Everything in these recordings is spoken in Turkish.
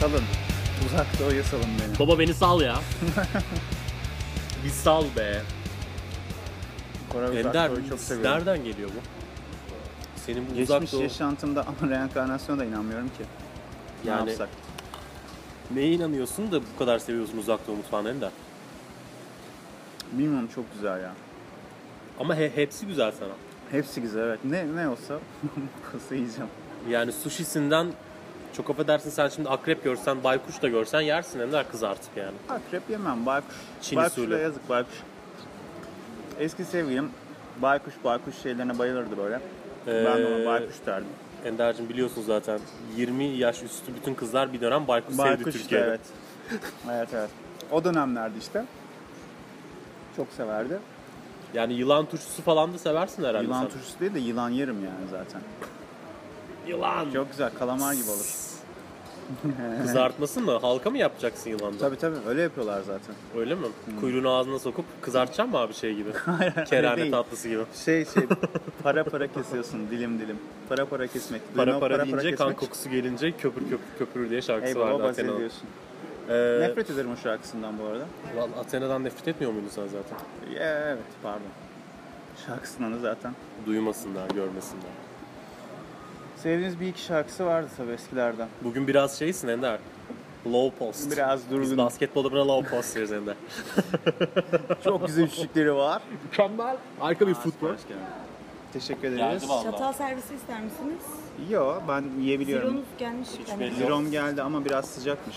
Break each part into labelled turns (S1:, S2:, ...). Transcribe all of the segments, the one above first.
S1: salın. Uzak doğuya salın beni.
S2: Baba beni sal ya. bir sal be.
S1: Kore uzak
S2: Ender
S1: doğuyu çok seviyorum.
S2: nereden geliyor bu? Senin bu uzak
S1: Geçmiş
S2: doğu...
S1: yaşantımda ama reenkarnasyona da inanmıyorum ki.
S2: Yani-
S1: Ne yapsak?
S2: Neye inanıyorsun da bu kadar seviyorsun uzak doğu mutfağını Ender?
S1: Bilmiyorum çok güzel ya.
S2: Ama he- hepsi güzel sana.
S1: Hepsi güzel evet. Ne ne olsa kası yiyeceğim.
S2: Yani sushisinden çok affedersin sen şimdi akrep görsen, baykuş da görsen yersin Ender kız artık yani.
S1: Akrep yemem baykuş.
S2: Çin
S1: Baykuşla
S2: usulü.
S1: yazık baykuş. Eski sevgilim baykuş baykuş şeylerine bayılırdı böyle. ben de ona
S2: Ee,
S1: baykuş derdim.
S2: Ender'cim biliyorsun zaten 20 yaş üstü bütün kızlar bir dönem baykuş, sevdi
S1: Baykuş işte
S2: Türkiye'de.
S1: evet. evet evet. O dönemlerde işte. Çok severdi.
S2: Yani yılan turşusu falan da seversin herhalde
S1: yılan
S2: sen.
S1: turşusu değil de yılan yerim yani zaten.
S2: Yılan!
S1: Çok güzel kalamar gibi olur.
S2: Kızartması mı? Halka mı yapacaksın yılandan?
S1: Tabii tabii öyle yapıyorlar zaten.
S2: Öyle mi?
S1: Hmm.
S2: Kuyruğunu ağzına sokup kızartacaksın mı abi şey gibi? Kerane
S1: değil.
S2: tatlısı gibi.
S1: Şey şey para para kesiyorsun dilim dilim. Para para kesmek. Duydun
S2: Para
S1: o
S2: para deyince kan
S1: kesmek?
S2: kokusu gelince köpür köpür köpür diye şarkısı
S1: Eyvallah
S2: vardı
S1: bahsediyorsun.
S2: Athena'nın. Ee,
S1: Nefret ederim o şarkısından bu arada.
S2: vallahi Athena'dan nefret etmiyor muydun sen zaten?
S1: Ya, evet pardon. Şarkısından da zaten.
S2: Duymasınlar, görmesinler.
S1: Sevdiğiniz bir iki şarkısı vardı tabii eskilerden.
S2: Bugün biraz şeysin Ender. Low post.
S1: Biraz
S2: Biz
S1: durgun.
S2: basketbolda buna low post deriz Ender.
S1: Çok güzel şişlikleri var.
S2: Mükemmel. Harika bir futbol.
S1: Teşekkür ederiz.
S2: Geldi vallahi.
S3: Çatal servisi ister misiniz?
S1: Yo ben yiyebiliyorum.
S3: Zironuz gelmiş. yani.
S2: belli
S1: Zirom geldi ama biraz sıcakmış.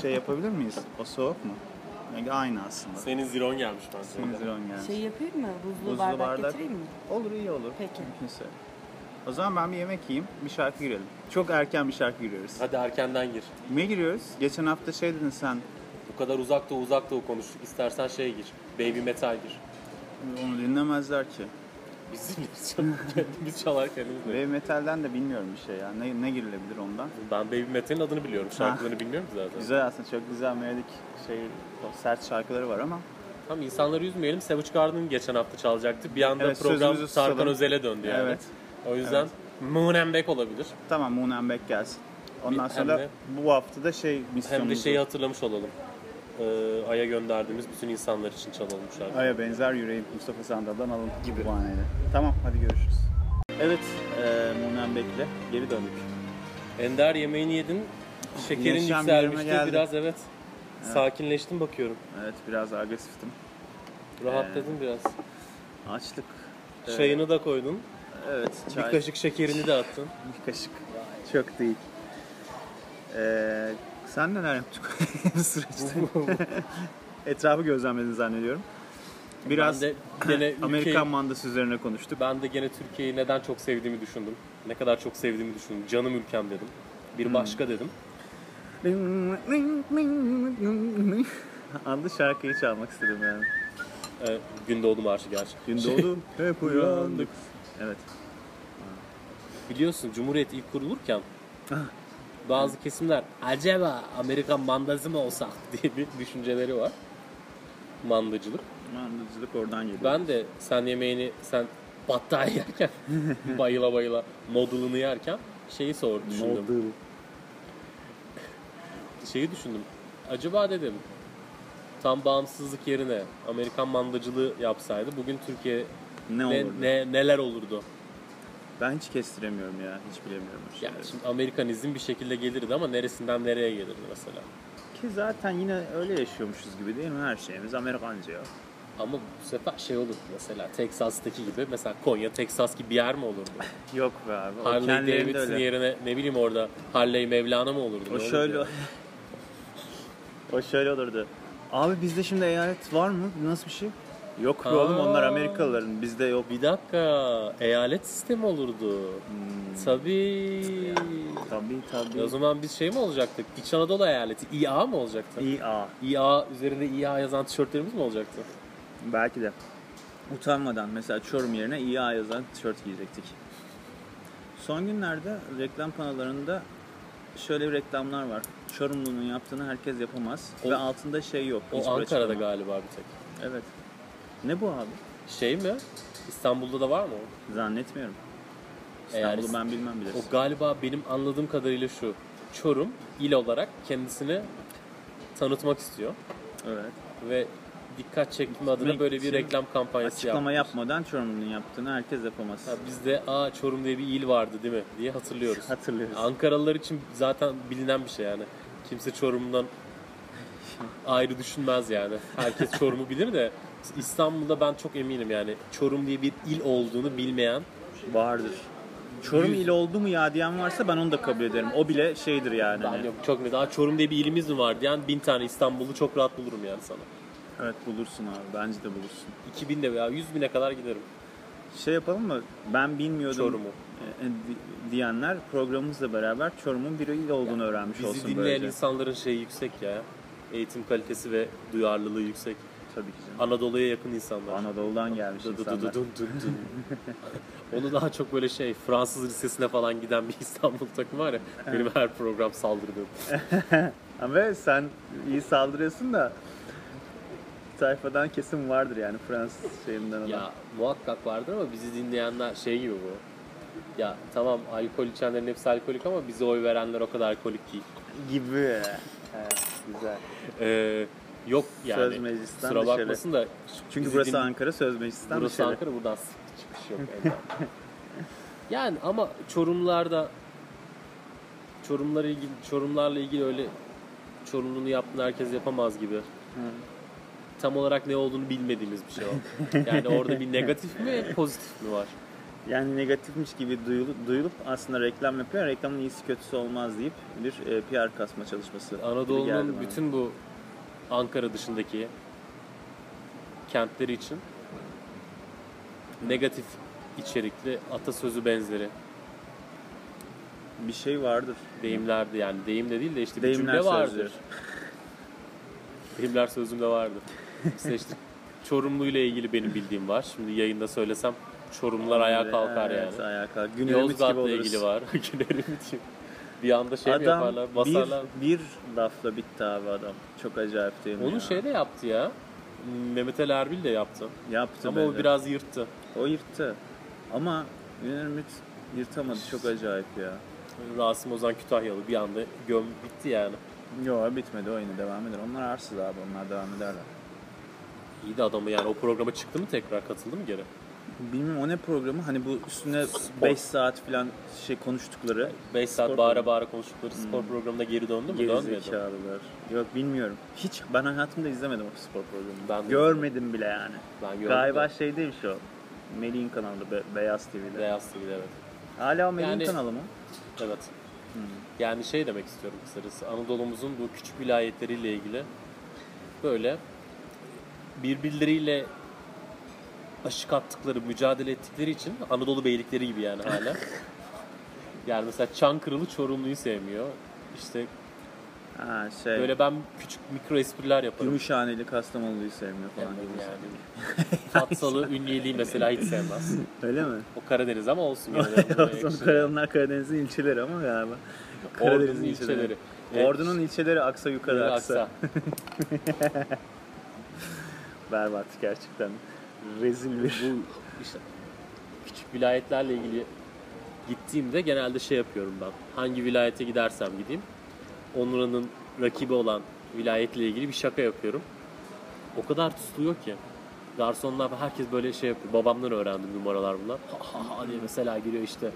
S1: Şey yapabilir miyiz? O soğuk mu? Yani aynı aslında.
S2: Senin ziron gelmiş bence.
S1: Senin ziron gelmiş.
S3: Şey yapayım mı? Buzlu,
S1: Buzlu
S3: bardak,
S1: bardak.
S3: getireyim mi?
S1: Olur iyi olur.
S3: Peki.
S1: Mümkünse. O zaman ben bir yemek yiyeyim, bir şarkı girelim. Çok erken bir şarkı giriyoruz.
S2: Hadi erkenden gir.
S1: Ne giriyoruz? Geçen hafta şey dedin sen,
S2: Bu kadar uzak doğu uzak doğu konuştuk. İstersen şey gir. Baby metal gir.
S1: onu dinlemezler ki.
S2: Biz dinleriz canım. Kendimiz çalar kendimiz dinleriz.
S1: Ve metalden de bilmiyorum bir şey ya. Ne, ne girilebilir ondan?
S2: Ben Baby Metal'in adını biliyorum. Şarkılarını bilmiyorum zaten.
S1: Güzel aslında, çok güzel melodik şey, o sert şarkıları var ama
S2: Tam insanları üzmeyelim. Savage Garden geçen hafta çalacaktı. Bir anda
S1: Evet,
S2: program
S1: sözümüzü
S2: Tarkan
S1: susalım.
S2: Özel'e döndü yani.
S1: Evet.
S2: O yüzden Moon and Back olabilir.
S1: tamam Moon and Back gelsin. Ondan
S2: Bir- hem
S1: sonra
S2: de-
S1: bu hafta da şey misyonumuz
S2: Hem de şeyi
S1: var.
S2: hatırlamış olalım. Ee, Ay'a gönderdiğimiz bütün insanlar için çalalım bu şarkıyı.
S1: Aya benzer yüreğim Mustafa Sandal'dan alın gibi bahaneyle. Tamam hadi görüşürüz. Evet e, Moon and Back'le geri döndük.
S2: Ender yemeğini yedin. Şekerin
S1: Neşem
S2: yükselmişti
S1: yerime geldi.
S2: biraz evet. Sakinleştim bakıyorum.
S1: Evet biraz agresiftim.
S2: Rahatladın
S1: Ee,
S2: biraz.
S1: Açlık.
S2: Çayını da koydun.
S1: Evet çay.
S2: Bir kaşık şekerini de attın.
S1: Bir kaşık. Çok değil. Ee, sen neler yaptık bu süreçte? Etrafı gözlemledin zannediyorum. Biraz
S2: ben de gene
S1: Amerikan
S2: ülkeyi-
S1: mandası üzerine konuştuk.
S2: Ben de gene Türkiye'yi neden çok sevdiğimi düşündüm. Ne kadar çok sevdiğimi düşündüm. Canım ülkem dedim. Bir başka dedim.
S1: Adlı şarkıyı çalmak istedim yani.
S2: Ee, Gündoğdu Marşı gerçi.
S1: Gün
S2: Şey,
S1: doğdu, hep uyandık. Evet.
S2: Şey, biliyorsun Cumhuriyet ilk kurulurken bazı kesimler acaba Amerikan mandası mı olsak diye bir düşünceleri var. Mandacılık.
S1: Mandacılık oradan geliyor.
S2: Ben de sen yemeğini sen battaniye yerken bayıla bayıla modulunu yerken şeyi sor düşündüm.
S1: Model.
S2: Şeyi düşündüm. Acaba dedim tam bağımsızlık yerine Amerikan mandacılığı yapsaydı bugün Türkiye
S1: Ne
S2: ne,
S1: olurdu?
S2: ne- neler olurdu?
S1: Ben hiç kestiremiyorum ya. Hiç bilemiyorum. o
S2: Yani
S1: şeyleri.
S2: şimdi Amerikanizm bir şekilde gelirdi ama neresinden nereye gelirdi mesela?
S1: Ki zaten yine öyle yaşıyormuşuz gibi değil mi? Her şeyimiz Amerikanca ya.
S2: Ama bu sefer şey olurdu mesela Teksas'taki gibi mesela Konya Teksas gibi bir yer mi olurdu?
S1: Yok be abi.
S2: Harley
S1: kendilerinde
S2: Davidson
S1: öyle.
S2: yerine ne bileyim orada Harley Mevlana mı olurdu? Ne
S1: O
S2: olurdu
S1: şöyle...
S2: yani?
S1: o şöyle olurdu. Abi bizde şimdi eyalet var mı? Nasıl bir şey? Yok be oğlum
S2: Aa.
S1: onlar Amerikalıların. Bizde yok.
S2: Bir dakika eyalet sistemi olurdu.
S1: Hmm.
S2: Tabii.
S1: Tabii tabii.
S2: O zaman biz şey mi olacaktık? İç Anadolu eyaleti İA mı olacaktı?
S1: İA.
S2: İA üzerinde İA yazan tişörtlerimiz mi olacaktı?
S1: Belki de. Utanmadan mesela Çorum yerine İA yazan tişört giyecektik. Son günlerde reklam panolarında şöyle reklamlar var. Çorumlu'nun yaptığını herkes yapamaz.
S2: O-
S1: Ve altında şey yok.
S2: O
S1: hiçbir
S2: Ankara'da
S1: açıklama.
S2: galiba bir tek.
S1: Evet. Ne bu abi?
S2: Şey mi? İstanbul'da da var mı? o?
S1: Zannetmiyorum.
S2: Eğer-
S1: İstanbul'u ben bilmem bile.
S2: O galiba benim anladığım kadarıyla şu. Çorum il olarak kendisini tanıtmak istiyor.
S1: Evet.
S2: Ve dikkat çekme adına
S1: Gitmek
S2: böyle bir
S1: için
S2: reklam kampanyası
S1: Açıklama
S2: yapmış.
S1: yapmadan Çorumlu'nun yaptığını herkes yapamaz.
S2: Ha, biz de aa Çorum diye bir il vardı değil mi diye hatırlıyoruz.
S1: Hatırlıyoruz.
S2: Ankaralılar için zaten bilinen bir şey yani. Kimse Çorum'dan ayrı düşünmez yani. Herkes Çorum'u bilir de İstanbul'da ben çok eminim yani Çorum diye bir il olduğunu bilmeyen
S1: Vardır. Çorum il oldu mu ya diyen varsa ben onu da kabul ederim. O bile şeydir yani.
S2: ben
S1: Hani-
S2: yok çok ne daha Çorum diye bir ilimiz mi var diyen bin tane İstanbul'u çok rahat bulurum yani sana.
S1: Evet bulursun abi. Bence de bulursun.
S2: 2000 de veya 100 bine kadar giderim
S1: Şey yapalım mı? Ben bilmiyordum
S2: Çorum'u.
S1: e, e, di- diyenler programımızla beraber Çorum'un bir il olduğunu öğrenmiş
S2: Bizi
S1: olsun
S2: dinleyen
S1: böylece.
S2: insanların şeyi yüksek ya. Eğitim kalitesi ve duyarlılığı yüksek.
S1: Tabii ki canım.
S2: Anadolu'ya yakın insanlar.
S1: Anadolu'dan gelmiş
S2: Dı dı dı dı
S1: insanlar.
S2: dın dın dın. Onu daha çok böyle şey Fransız lisesine falan giden bir İstanbul takımı var ya. Benim her program saldırdığım.
S1: Ama sen iyi saldırıyorsun da sayfadan kesin vardır yani Fransız şeyinden olan.
S2: ya muhakkak vardır ama bizi dinleyenler şey gibi bu. Ya tamam alkol içenlerin hepsi alkolik ama bize oy verenler o kadar alkolik değil.
S1: Gibi. Evet, güzel.
S2: Ee, yok yani.
S1: Söz meclisten
S2: Kusura
S1: dışarı.
S2: bakmasın da.
S1: Çünkü
S2: bizi
S1: burası
S2: din-
S1: Ankara Söz Meclisi'nden
S2: Burası
S1: dışarı.
S2: Ankara buradan çıkış şey yok. elden. yani ama Çorumlarda Çorumlarla ilgili Çorumlarla ilgili öyle Çorumlu'nu yaptın herkes yapamaz gibi. Tam olarak ne olduğunu bilmediğimiz bir şey o. Yani orada bir negatif mi, pozitif mi var?
S1: Yani negatifmiş gibi duyulup, duyulup aslında reklam yapıyor. Reklamın iyisi kötüsü olmaz deyip bir e, PR kasma çalışması. gibi geldi
S2: Anadolu'nun
S1: bana.
S2: bütün bu Ankara dışındaki kentleri için negatif içerikli atasözü benzeri
S1: bir şey vardır.
S2: deyimlerdi yani deyim de değil de işte bir
S1: Deyimler
S2: cümle vardır.
S1: sözleri.
S2: Deyimler sözümde vardı. İşte işte Çorumlu ile ilgili benim bildiğim var. Şimdi yayında söylesem Çorumlular ayağa kalkar
S1: evet,
S2: yani.
S1: ayağa kalkar. Gün Ümit gibi
S2: Yozgat'la
S1: oluruz.
S2: ilgili var. Gülerim diyor. Bir anda şey mi
S1: adam
S2: yaparlar,
S1: bir,
S2: basarlar.
S1: bir lafla bitti abi adam. Çok acayip değil mi
S2: Onu
S1: ya?
S2: şey de yaptı ya. Mehmet Ali Erbil de yaptı.
S1: Yaptı
S2: Ama o
S1: beni.
S2: biraz yırttı.
S1: O yırttı. Ama Güney Ümit yırtamadı. Çok acayip ya.
S2: Rasim Ozan Kütahyalı bir anda göm bitti yani.
S1: Yo bitmedi. Oyunu devam eder. Onlar arsız abi. Onlar devam ederler.
S2: İyi de adamı yani o programa çıktı mı tekrar katıldı mı geri?
S1: Bilmiyorum o ne programı? Hani bu üstüne 5 saat falan şey konuştukları.
S2: 5 saat
S1: Spor Hmm.
S2: bağıra bağıra konuştukları spor programına geri döndü mü? Dönmedi.
S1: Gerizekalılar. Yok bilmiyorum. Hiç ben hayatımda izlemedim o spor programını.
S2: Ben de
S1: Görmedim bile yani.
S2: Ben gördüm
S1: Galiba
S2: de.
S1: şey değilmiş o. Melih'in kanalında Be- Beyaz TV'de.
S2: Beyaz TV'de evet.
S1: Hala o Melih'in
S2: Yani-
S1: kanalı mı?
S2: Evet. Yani şey demek istiyorum kısacası. Anadolu'muzun bu küçük vilayetleriyle ilgili böyle birbirleriyle aşık attıkları, mücadele ettikleri için Anadolu beylikleri gibi yani hala. yani mesela Çankırılı Çorumlu'yu sevmiyor. İşte
S1: Ha şey. Böyle
S2: böyle ben küçük mikro espriler yaparım.
S1: Gümüşhaneli Kastamonu'yu sevmiyor falan.
S2: Yani,
S1: gibi.
S2: Fatsalı Ünyeli'yi mesela hiç sevmez.
S1: Öyle mi?
S2: O Karadeniz ama olsun. Yani.
S1: Son Karadenizler Karadeniz'in ilçeleri ama galiba.
S2: Ordu'nun ilçeleri. Evet.
S1: Ordu'nun ilçeleri aksa yukarı aksa.
S2: Aksa.
S1: Berbat gerçekten. Rezil bir.
S2: bu işte küçük vilayetlerle ilgili gittiğimde genelde şey yapıyorum ben. Hangi vilayete gidersem gideyim. Onura'nın rakibi olan vilayetle ilgili bir şaka yapıyorum. O kadar tutuluyor ki. Garsonlar herkes böyle şey yapıyor. Babamdan öğrendim numaralar bunlar. Ha ha ha diye mesela giriyor işte.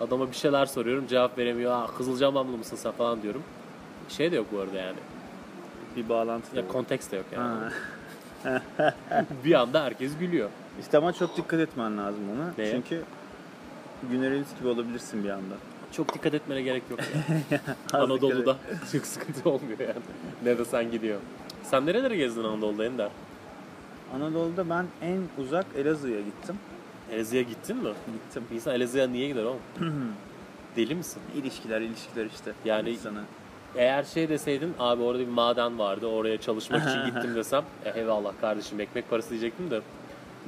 S2: Adama bir şeyler soruyorum cevap veremiyor. Ha Kızılcahamamlı mısın sen falan diyorum. Şey de yok bu arada yani.
S1: bir bağlantı da
S2: Ya
S1: yok.
S2: konteks de yok yani.
S1: Ha.
S2: bir anda herkes gülüyor.
S1: İşte ama çok dikkat etmen lazım ona.
S2: Neye?
S1: Çünkü Güneriliz gibi olabilirsin bir anda.
S2: Çok dikkat etmene gerek yok. yani.
S1: Az
S2: Anadolu'da
S1: dikkat
S2: çok sıkıntı olmuyor yani. Nerede sen gidiyor. Sen nerelere gezdin Anadolu'da Ender?
S1: et. Anadolu'da ben en uzak Elazığ'a gittim.
S2: Elazığ'a gittin mi?
S1: Gittim.
S2: Bir insan Elazığ'a niye gider oğlum? Deli misin?
S1: İlişkiler, ilişkiler işte.
S2: Yani-
S1: İnsanı.
S2: Eğer şey deseydin abi orada bir maden vardı oraya çalışmak için gittim desem e, eyvallah kardeşim ekmek parası diyecektim de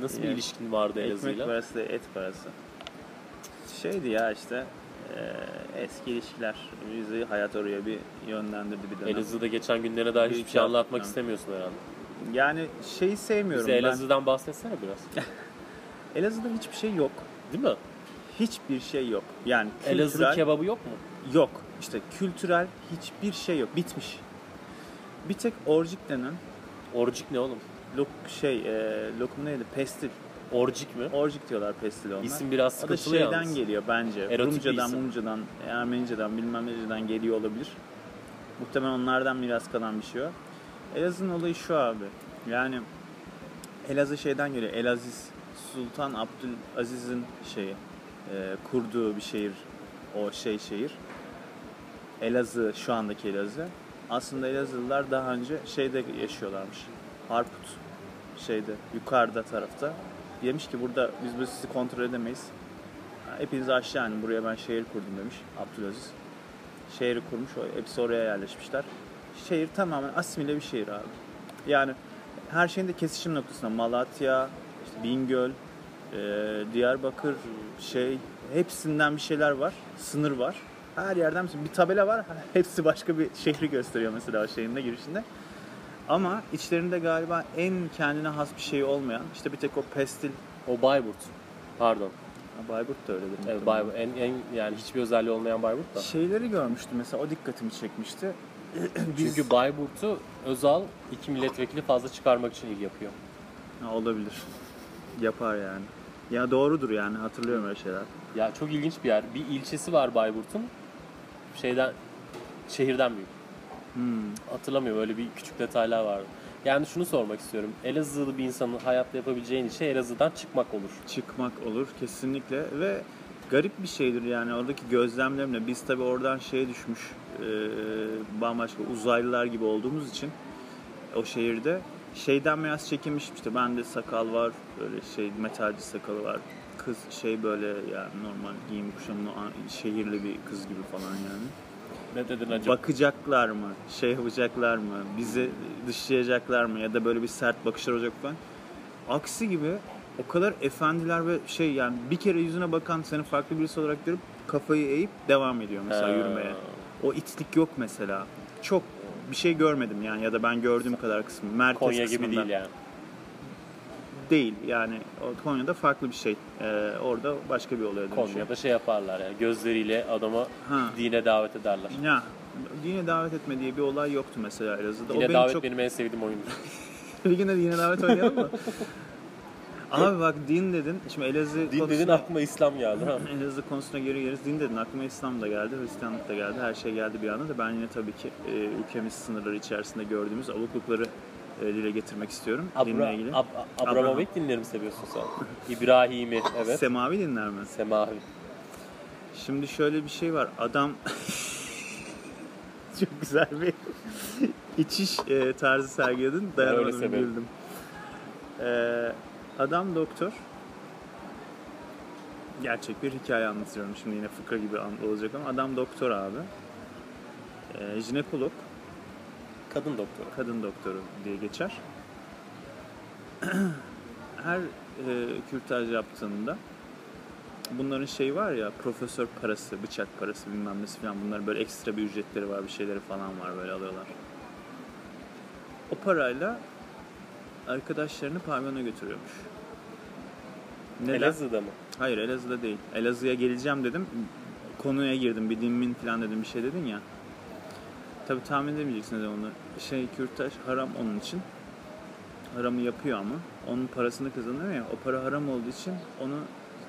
S2: nasıl bir
S1: Yani,
S2: ilişkin vardı
S1: Ekmek
S2: Elazığ'la?
S1: parası da et parası. Şeydi ya işte e, eski ilişkiler bizi hayat oraya bir yönlendirdi bir dönem.
S2: Elazığ'da geçen günlerine dair
S1: Bir
S2: hiçbir
S1: iki
S2: şey anlatmak
S1: hafta.
S2: istemiyorsun herhalde.
S1: Yani şeyi sevmiyorum
S2: Bize
S1: ben.
S2: Elazığ'dan bahsetsene biraz.
S1: Elazığ'da hiçbir şey yok.
S2: Değil mi?
S1: hiçbir şey yok. Yani kültürel
S2: Elazığ kebabı yok mu?
S1: yok. İşte kültürel hiçbir şey yok. Bitmiş. Bir tek orcik denen
S2: Orcik ne oğlum?
S1: lok şey e, lokum neydi? Pestil.
S2: Orcik mi?
S1: Orcik diyorlar pestil onlar.
S2: İsim biraz
S1: O da
S2: sıkıntılı
S1: şeyden
S2: yalnız.
S1: geliyor bence.
S2: Erotik bir
S1: Rumcadan,
S2: isim.
S1: Mumcadan, Ermenice'den bilmem neceden geliyor olabilir. Muhtemelen onlardan miras kalan bir şey o. Elazığ'ın olayı şu abi. Yani Elazığ şeyden geliyor. Elaziz Sultan Abdülaziz'in şeyi e, kurduğu bir şehir. O şey şehir. Elazığ şu andaki Elazığ. Aslında Elazığlılar daha önce şeyde yaşıyorlarmış. Harput şeyde yukarıda tarafta. Demiş ki burada biz bu sizi kontrol edemeyiz. Hepiniz aşağı inin buraya ben şehir kurdum demiş Abdülaziz. Şehri kurmuş o- hepsi oraya yerleşmişler. Şehir tamamen asimile bir şehir abi. Yani her şeyin de kesişim noktasında Malatya, işte Bingöl, e, Diyarbakır şey hepsinden bir şeyler var. Sınır var. Her yerden bir bir tabela var. Hepsi başka bir şehri gösteriyor mesela o şeyin de girişinde. Ama içlerinde galiba en kendine has bir şey olmayan işte bir tek o pestil
S2: O Bayburt. Pardon.
S1: Ha, Bayburt da öyledir.
S2: Evet,
S1: muhtemelen.
S2: Bayburt. En, en, yani hiçbir özelliği olmayan Bayburt da.
S1: Şeyleri görmüştüm mesela o dikkatimi çekmişti. Biz-
S2: Çünkü Bayburt'u Özal iki milletvekili fazla çıkarmak için il yapıyor.
S1: Ha, olabilir. Yapar yani. Ya doğrudur yani hatırlıyorum öyle şeyler.
S2: Ya çok ilginç bir yer. Bir ilçesi var Bayburt'un. Şeyden şehirden büyük.
S1: Hmm.
S2: Hatırlamıyorum öyle bir küçük detaylar vardı. Yani şunu sormak istiyorum. Elazığlı bir insanın hayatta yapabileceğin şey Elazığ'dan çıkmak olur.
S1: Çıkmak olur kesinlikle ve garip bir şeydir yani oradaki gözlemlerimle biz tabi oradan şeye düşmüş e, bambaşka uzaylılar gibi olduğumuz için o şehirde şeyden biraz çekinmişim işte bende sakal var böyle şey metalci sakalı var kız şey böyle yani normal giyim kuşamlı a- şehirli bir kız gibi falan yani.
S2: Ne dedin acaba?
S1: bakacaklar mı? Şey yapacaklar mı? Bizi dışlayacaklar mı? Ya da böyle bir sert bakışlar olacak falan. Aksi gibi o kadar efendiler ve şey yani bir kere yüzüne bakan seni farklı birisi olarak görüp kafayı eğip devam ediyor mesela
S2: Ha.
S1: yürümeye. O itlik yok mesela. Çok bir şey görmedim yani ya da ben gördüğüm kadar kısmı. Merkez
S2: Konya
S1: kısmında
S2: gibi değil yani.
S1: Değil yani. O Konya'da farklı bir şey. Ee, orada başka bir olaya dönüşüyor.
S2: Konya'da şey yaparlar yani gözleriyle adama
S1: Ha.
S2: dine davet ederler.
S1: Ya, dine davet etme diye bir olay yoktu mesela Elazığ'da. o
S2: Dine
S1: beni
S2: davet
S1: çok
S2: benim en sevdiğim oyundur.
S1: Bir gün de yine davet oynayalım mı? Abi bak din dedin. Şimdi Elazığ
S2: Din dedin
S1: konusuna,
S2: aklıma İslam geldi ha.
S1: Elazığ konusuna geri geliriz. Din dedin. Aklıma İslam da geldi, Hristiyanlık da geldi. Her şey geldi bir anda da ben yine tabii ki e, ülkemiz sınırları içerisinde gördüğümüz avuklukları e, dile getirmek istiyorum. dinle ilgili.
S2: Abra, Ab, Abramovich dinleri mi seviyorsun sen? İbrahim'i evet.
S1: Semavi dinler mi?
S2: Semavi.
S1: Şimdi şöyle bir şey var. Adam çok güzel bir içiş e, tarzı sergiledin. Dayanamadım
S2: severim.
S1: güldüm. Ee, adam doktor. Gerçek bir hikaye anlatıyorum. Şimdi yine fıkra gibi an- olacak ama adam doktor abi. Ee, jinekolog
S2: Kadın doktoru.
S1: kadın doktoru diye geçer. Her e, kürtaj yaptığında bunların şey var ya profesör parası, bıçak parası bilmem nesi falan bunlar böyle ekstra bir ücretleri var bir şeyleri falan var böyle alıyorlar. O parayla arkadaşlarını pavyona götürüyormuş. Neden?
S2: Elazığ'da mı?
S1: Hayır Elazığ'da değil. Elazığ'a geleceğim dedim. Konuya girdim. Bir dinmin falan dedim. Bir şey dedin ya. Tabi tahmin edemeyeceksiniz onu. Şey kürtaj haram onun için. Haramı yapıyor ama. Onun parasını kazanıyor ya. O para haram olduğu için onu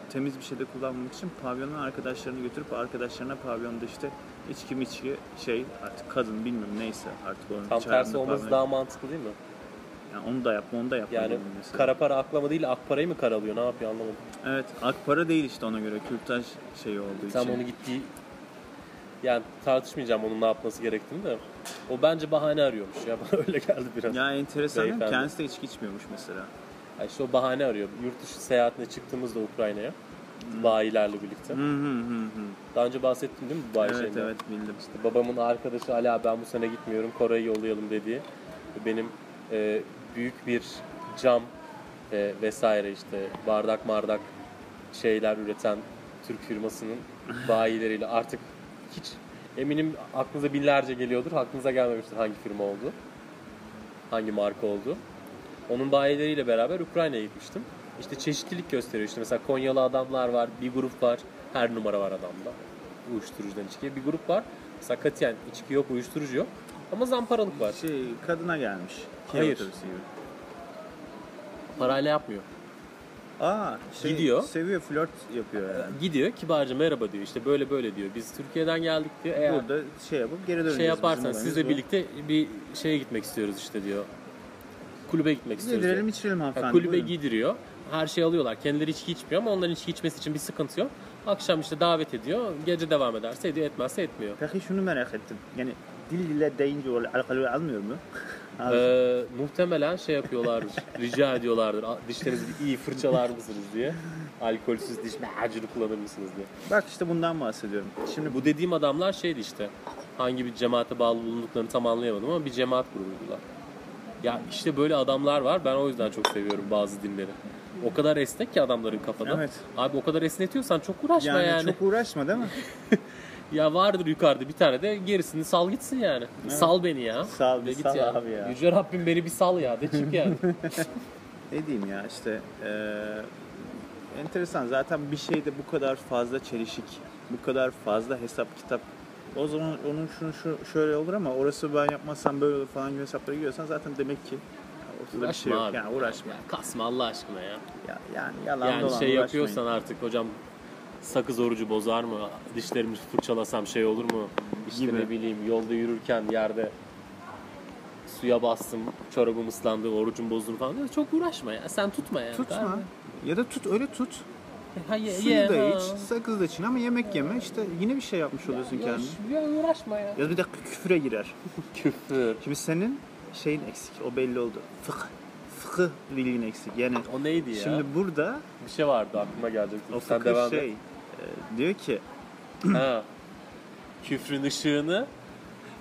S1: temiz bir şeyde kullanmak için pavyona arkadaşlarını götürüp arkadaşlarına pavyonda işte içki miçki şey artık kadın bilmiyorum neyse artık onun
S2: Tam
S1: çağrında
S2: tersi olması
S1: pavyona-
S2: daha mantıklı değil mi?
S1: yani onu da yapma onu da yapma.
S2: Yani
S1: dedim mesela.
S2: kara para aklama değil ak parayı mı karalıyor ne yapıyor anlamadım.
S1: Evet akpara değil işte ona göre kürtaj şeyi olduğu
S2: Tam
S1: için.
S2: onu gittiği yani tartışmayacağım onun ne yapması gerektiğini de. O bence bahane arıyormuş ya bana öyle geldi biraz.
S1: Ya enteresan değil mi?
S2: Beyefendi.
S1: Kendisi de içki içmiyormuş mesela.
S2: Ya işte o bahane arıyor. Yurt dışı seyahatine çıktığımızda Ukrayna'ya
S1: Hmm.
S2: bayilerle birlikte.
S1: Hı hı hı hı.
S2: Daha önce bahsettim değil mi bu bayi
S1: Evet
S2: şeyinden?
S1: evet bildim.
S2: İşte babamın arkadaşı Ali abi ben bu sene gitmiyorum Kore'ye yollayalım dediği benim e, büyük bir cam e, vesaire işte bardak mardak şeyler üreten Türk firmasının bayileriyle artık hiç eminim aklınıza binlerce geliyordur. Aklınıza gelmemiştir hangi firma oldu. Hangi marka oldu. Onun bayileriyle beraber Ukrayna'ya gitmiştim. İşte çeşitlilik gösteriyor. İşte mesela Konyalı adamlar var, bir grup var. Her numara var adamda. Uyuşturucudan içkiye. Bir grup var. Mesela katiyen içki yok, uyuşturucu yok. Ama zamparalık var.
S1: Şey, kadına gelmiş. Kira
S2: Hayır.
S1: otobüsü gibi.
S2: Parayla yapmıyor.
S1: Aa, şey,
S2: Gidiyor.
S1: Seviyor, flört yapıyor yani.
S2: Gidiyor kibarca merhaba diyor. İşte böyle böyle diyor. Biz Türkiye'den geldik diyor. Eğer
S1: Burada şey yapıp geri döneceğiz.
S2: şey yaparsanız
S1: bizim
S2: sizle
S1: olayımız bu.
S2: birlikte bir şeye gitmek istiyoruz işte diyor. Kulübe gitmek istiyoruz. diyor.
S1: Yedirelim içirelim
S2: Ya
S1: hanımefendi.
S2: kulübe
S1: buyurun.
S2: giydiriyor. Her şey alıyorlar. Kendileri içki içmiyor ama onların içki içmesi için bir sıkıntı yok. Akşam işte davet ediyor. Gece devam ederse ediyor, etmezse etmiyor.
S1: Peki şunu merak ettim. Yani dil ile deyince o alkolü almıyor mu? Abi,
S2: Ee, muhtemelen şey yapıyorlardır. rica ediyorlardır. "A- Dişlerinizi iyi fırçalar mısınız diye. Alkolsüz diş macunu kullanır mısınız diye.
S1: Bak işte bundan bahsediyorum. Şimdi
S2: Şimdi bu dediğim adamlar şeydi işte. Hangi bir cemaate bağlı bulunduklarını tam anlayamadım ama bir cemaat grubuydular. Ya işte böyle adamlar var. Ben o yüzden çok seviyorum bazı dinleri. O kadar esnek ki adamların kafada.
S1: Evet.
S2: Abi o kadar esnetiyorsan çok uğraşma
S1: yani,
S2: yani.
S1: çok uğraşma değil mi?
S2: Ya vardır yukarıda bir tane de gerisini sal gitsin yani. Sal beni ya.
S1: Sal,
S2: De
S1: bir
S2: git
S1: sal abi ya.
S2: Yüce Rabbim beni bir sal ya de çık yani.
S1: ne diyeyim ya işte eee, enteresan zaten bir şeyde bu kadar fazla çelişik, bu kadar fazla hesap kitap o zaman onun şunu şu şöyle olur ama orası ben yapmazsam böyle olur falan gibi hesaplara giriyorsan zaten demek ki ortada bir şey yok.
S2: abi.
S1: Yani uğraşma.
S2: Ya kasma Allah aşkına ya.
S1: Ya, yani yalan
S2: yani
S1: dolan
S2: şey
S1: uğraşmayın.
S2: yapıyorsan artık hocam sakız orucu bozar mı? Dişlerimi fırçalasam şey olur mu? İşte
S1: Gibi.
S2: ne bileyim yolda yürürken yerde suya bastım, çorabım ıslandı, orucum bozuldu falan. Ya Çok uğraşma ya. Sen tutma ya.
S1: Tutma. Ya da tut öyle tut.
S2: Ha, ye,
S1: Suyu
S2: ye,
S1: da
S2: ha.
S1: iç, sakız da çiğne ama yemek yeme. İşte yine bir şey yapmış oluyorsun
S2: Ya,
S1: kendine.
S2: ya uğraşma ya.
S1: Ya bir dakika küfüre girer.
S2: Küfür.
S1: Şimdi senin şeyin eksik. O belli oldu. Fıkıh. Fıkıh bilgin eksik. Yani
S2: O neydi ya?
S1: şimdi burada
S2: Bir şey vardı aklıma gelecek.
S1: o
S2: Sen
S1: fıkıh
S2: devam
S1: şey
S2: et.
S1: e, diyor ki
S2: Ha. Küfrün ışığını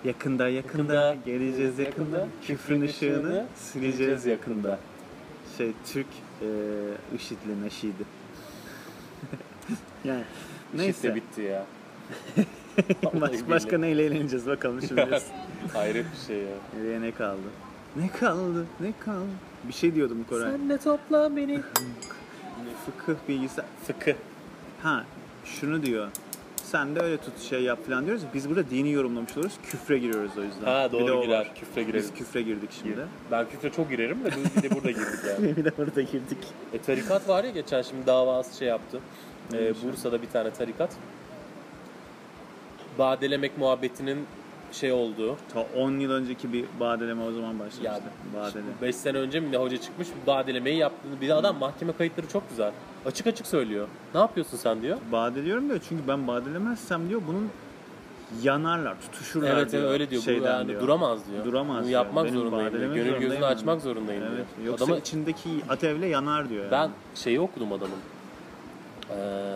S1: yakında yakında,
S2: Yakında,
S1: geleceğiz yakında,
S2: yakında,
S1: küfrün ışığını
S2: ışığını
S1: sileceğiz yakında.
S2: yakında.
S1: Şey Türk e, IŞİD'li neşidi. yani
S2: Neyse.
S1: neyse
S2: bitti ya.
S1: Baş, başka neyle eğleneceğiz bakalım şimdi. biz.
S2: Hayret bir şey ya.
S1: Nereye ne kaldı? Ne kaldı? Ne kaldı? Bir şey diyordum Koray.
S2: Senle topla beni.
S1: Fıkıh bilgisi.
S2: Fıkı.
S1: Ha şunu diyor. Sen de öyle tut şey yap falan diyoruz. Biz burada dini yorumlamış oluruz. Küfre giriyoruz o yüzden.
S2: Ha
S1: Bir de o
S2: doğru
S1: var.
S2: girer. Küfre gireriz.
S1: Biz küfre girdik şimdi.
S2: Ben küfre çok girerim de biz bir de burada girdik yani.
S1: bir de burada girdik.
S2: E, tarikat var ya geçen şimdi davası şey yaptı. E,
S1: Neymiş ya?
S2: Bursa'da bir tane tarikat. Badelemek muhabbetinin şey olduğu,
S1: Ta 10 yıl önceki bir badeleme o zaman
S2: Ya
S1: başlamıştı. Badele.
S2: 5 sene önce mi ne hoca çıkmış bir badelemeyi yaptığını bir adam mahkeme kayıtları çok güzel. Açık açık söylüyor. Ne yapıyorsun sen diyor.
S1: Badeliyorum diyor çünkü ben badelemezsem diyor bunun yanarlar, tutuşurlar
S2: Evet
S1: diyor.
S2: evet, öyle diyor. Bu
S1: Şeyden
S2: yani
S1: diyor.
S2: duramaz diyor.
S1: Duramaz
S2: Bunu
S1: diyor.
S2: yapmak
S1: Benim
S2: zorundayım diyor.
S1: badelemek
S2: Gönül
S1: zorundayım
S2: gözünü
S1: ben.
S2: açmak zorundayım
S1: Evet.
S2: diyor.
S1: Yoksa
S2: Adamı-
S1: içindeki atevle yanar diyor. yani.
S2: Ben şeyi okudum adamın. Ee,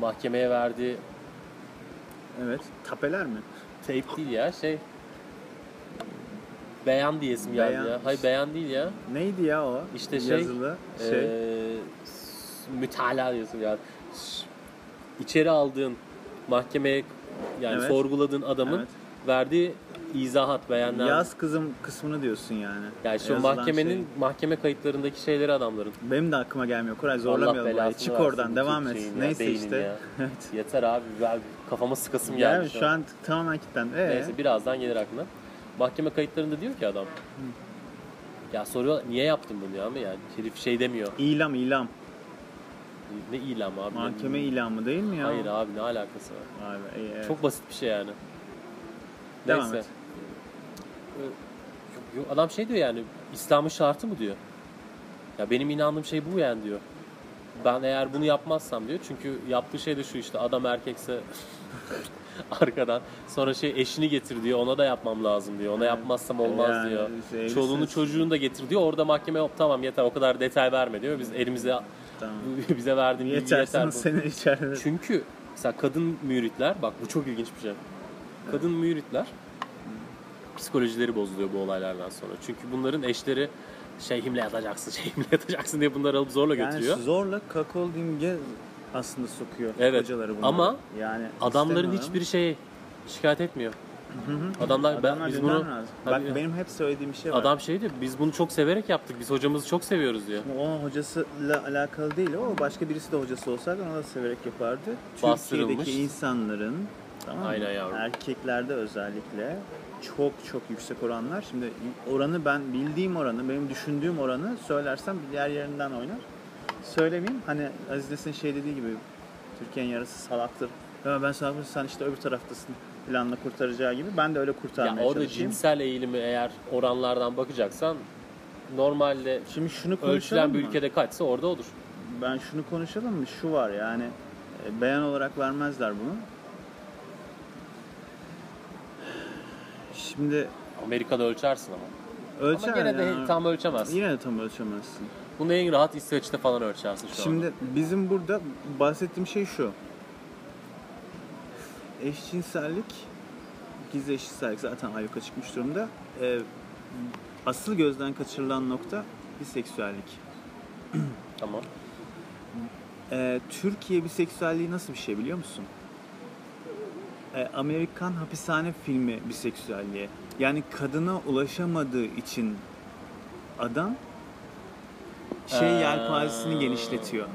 S2: mahkemeye verdiği
S1: Evet. Tapeler mi?
S2: teyp değil ya şey beyan diye isim geldi
S1: Beyan.
S2: ya. Hayır beyan değil ya.
S1: Neydi ya o?
S2: İşte şey,
S1: Yazılı şey.
S2: Ee, s- mütalaa diyorsun yani. S- İçeri aldığın mahkemeye yani
S1: Evet.
S2: sorguladığın adamın
S1: Evet.
S2: verdiği izahat beyanlar.
S1: Yaz kızım kısmını diyorsun yani.
S2: yani şu
S1: Yazılan
S2: mahkemenin
S1: şey.
S2: mahkeme kayıtlarındaki şeyleri adamların.
S1: Benim de aklıma gelmiyor. Koray
S2: Allah
S1: zorlamayalım.
S2: belasını
S1: olayı. Çık
S2: versin
S1: oradan
S2: bütün
S1: devam et.
S2: şeyin ya,
S1: Neyse
S2: beynin
S1: işte.
S2: ya.
S1: Evet.
S2: Yeter abi ben kafama sıkasım geldi.
S1: Yani şu an tamamen kilitlen. Ee,
S2: Neyse birazdan gelir aklına. Mahkeme kayıtlarında diyor ki adam. Ya soruyor niye yaptın bunu ya ama yani herif şey demiyor.
S1: İlam ilam.
S2: Ne ilam abi. ne-
S1: Mahkeme ilamı değil mi ya?
S2: Hayır abi ne alakası var?
S1: Vay be, iyi, evet.
S2: Çok basit bir şey yani.
S1: Devam
S2: Neyse.
S1: et.
S2: Ee, yok, yok, adam şey diyor yani İslam'ın şartı mı diyor. Ya benim inandığım şey bu yani diyor. Ben eğer bunu yapmazsam diyor. Çünkü yaptığı şey de şu işte adam erkekse arkadan sonra şey eşini getir diyor. Ona da yapmam lazım diyor. Ona yapmazsam olmaz
S1: Yani
S2: diyor.
S1: şey,
S2: Çoluğunu
S1: evlisiniz.
S2: çocuğunu da getir diyor. Orada mahkeme yok tamam yeter o kadar detay verme diyor. Biz elimize
S1: Tamam.
S2: bize verdiğin bilgi
S1: Yeter
S2: yeter.
S1: sana
S2: bu.
S1: seni içeride.
S2: Çünkü mesela kadın müritler bak bu çok ilginç bir şey. Kadın müritler psikolojileri bozuluyor bu olaylardan sonra. Çünkü bunların eşleri şey himle yatacaksın, şey himle yatacaksın diye bunları alıp zorla
S1: Yani
S2: götürüyor.
S1: zorla kakoldinge aslında sokuyor
S2: Evet,
S1: hocaları bunu.
S2: ama
S1: yani
S2: Adamların
S1: istemiyorlar ama-
S2: hiçbir şey şikayet etmiyor. Adamlar, ben,
S1: Adamlar
S2: biz
S1: biz
S2: bunu
S1: lazım.
S2: Tabii.
S1: Bak benim hep söylediğim bir şey var.
S2: adam şey diyor biz bunu çok severek yaptık. Biz hocamızı çok seviyoruz diyor.
S1: O hocasıyla alakalı değil o başka birisi de hocası olsaydı ona da severek yapardı.
S2: Bastırılmış.
S1: Türkiye'deki insanların tamam mı?
S2: Aynen yavrum.
S1: erkeklerde özellikle çok çok yüksek oranlar. Şimdi oranı ben bildiğim oranı, benim düşündüğüm oranı söylersem diğer yerinden oynar. Söylemeyeyim. Hani Aziz Nesin şey dediği gibi Türkiye'nin yarısı salaktır. Ama ben salakım sen işte öbür taraftasın planla kurtaracağı gibi. Ben de öyle
S2: Ya
S1: kurtarmaya
S2: orada
S1: çalışayım.
S2: cinsel eğilimi eğer oranlardan bakacaksan normalde
S1: Şimdi şunu konuşalım
S2: ölçülen bir
S1: mı?
S2: ülkede kaçsa orada olur.
S1: ben şunu konuşalım mı? Şu var yani e, beyan olarak vermezler bunu. Şimdi
S2: Amerika'da ölçersin ama.
S1: ölçer
S2: ama gene de
S1: yani.
S2: tam ölçemezsin.
S1: Yine de tam ölçemezsin.
S2: Bunu en rahat İsveç'te falan ölçersin şu
S1: Şimdi
S2: anda.
S1: bizim burada bahsettiğim şey şu. Eşcinsellik, gizli eşcinsellik zaten ayyuka çıkmış durumda. E, asıl gözden kaçırılan nokta biseksüellik.
S2: Tamam.
S1: Ee, Türkiye biseksüelliği nasıl bir şey biliyor musun? Ee, Amerikan hapishane filmi biseksüelliği. Yani kadına ulaşamadığı için adam şey
S2: Ee,
S1: yelpazesini genişletiyor.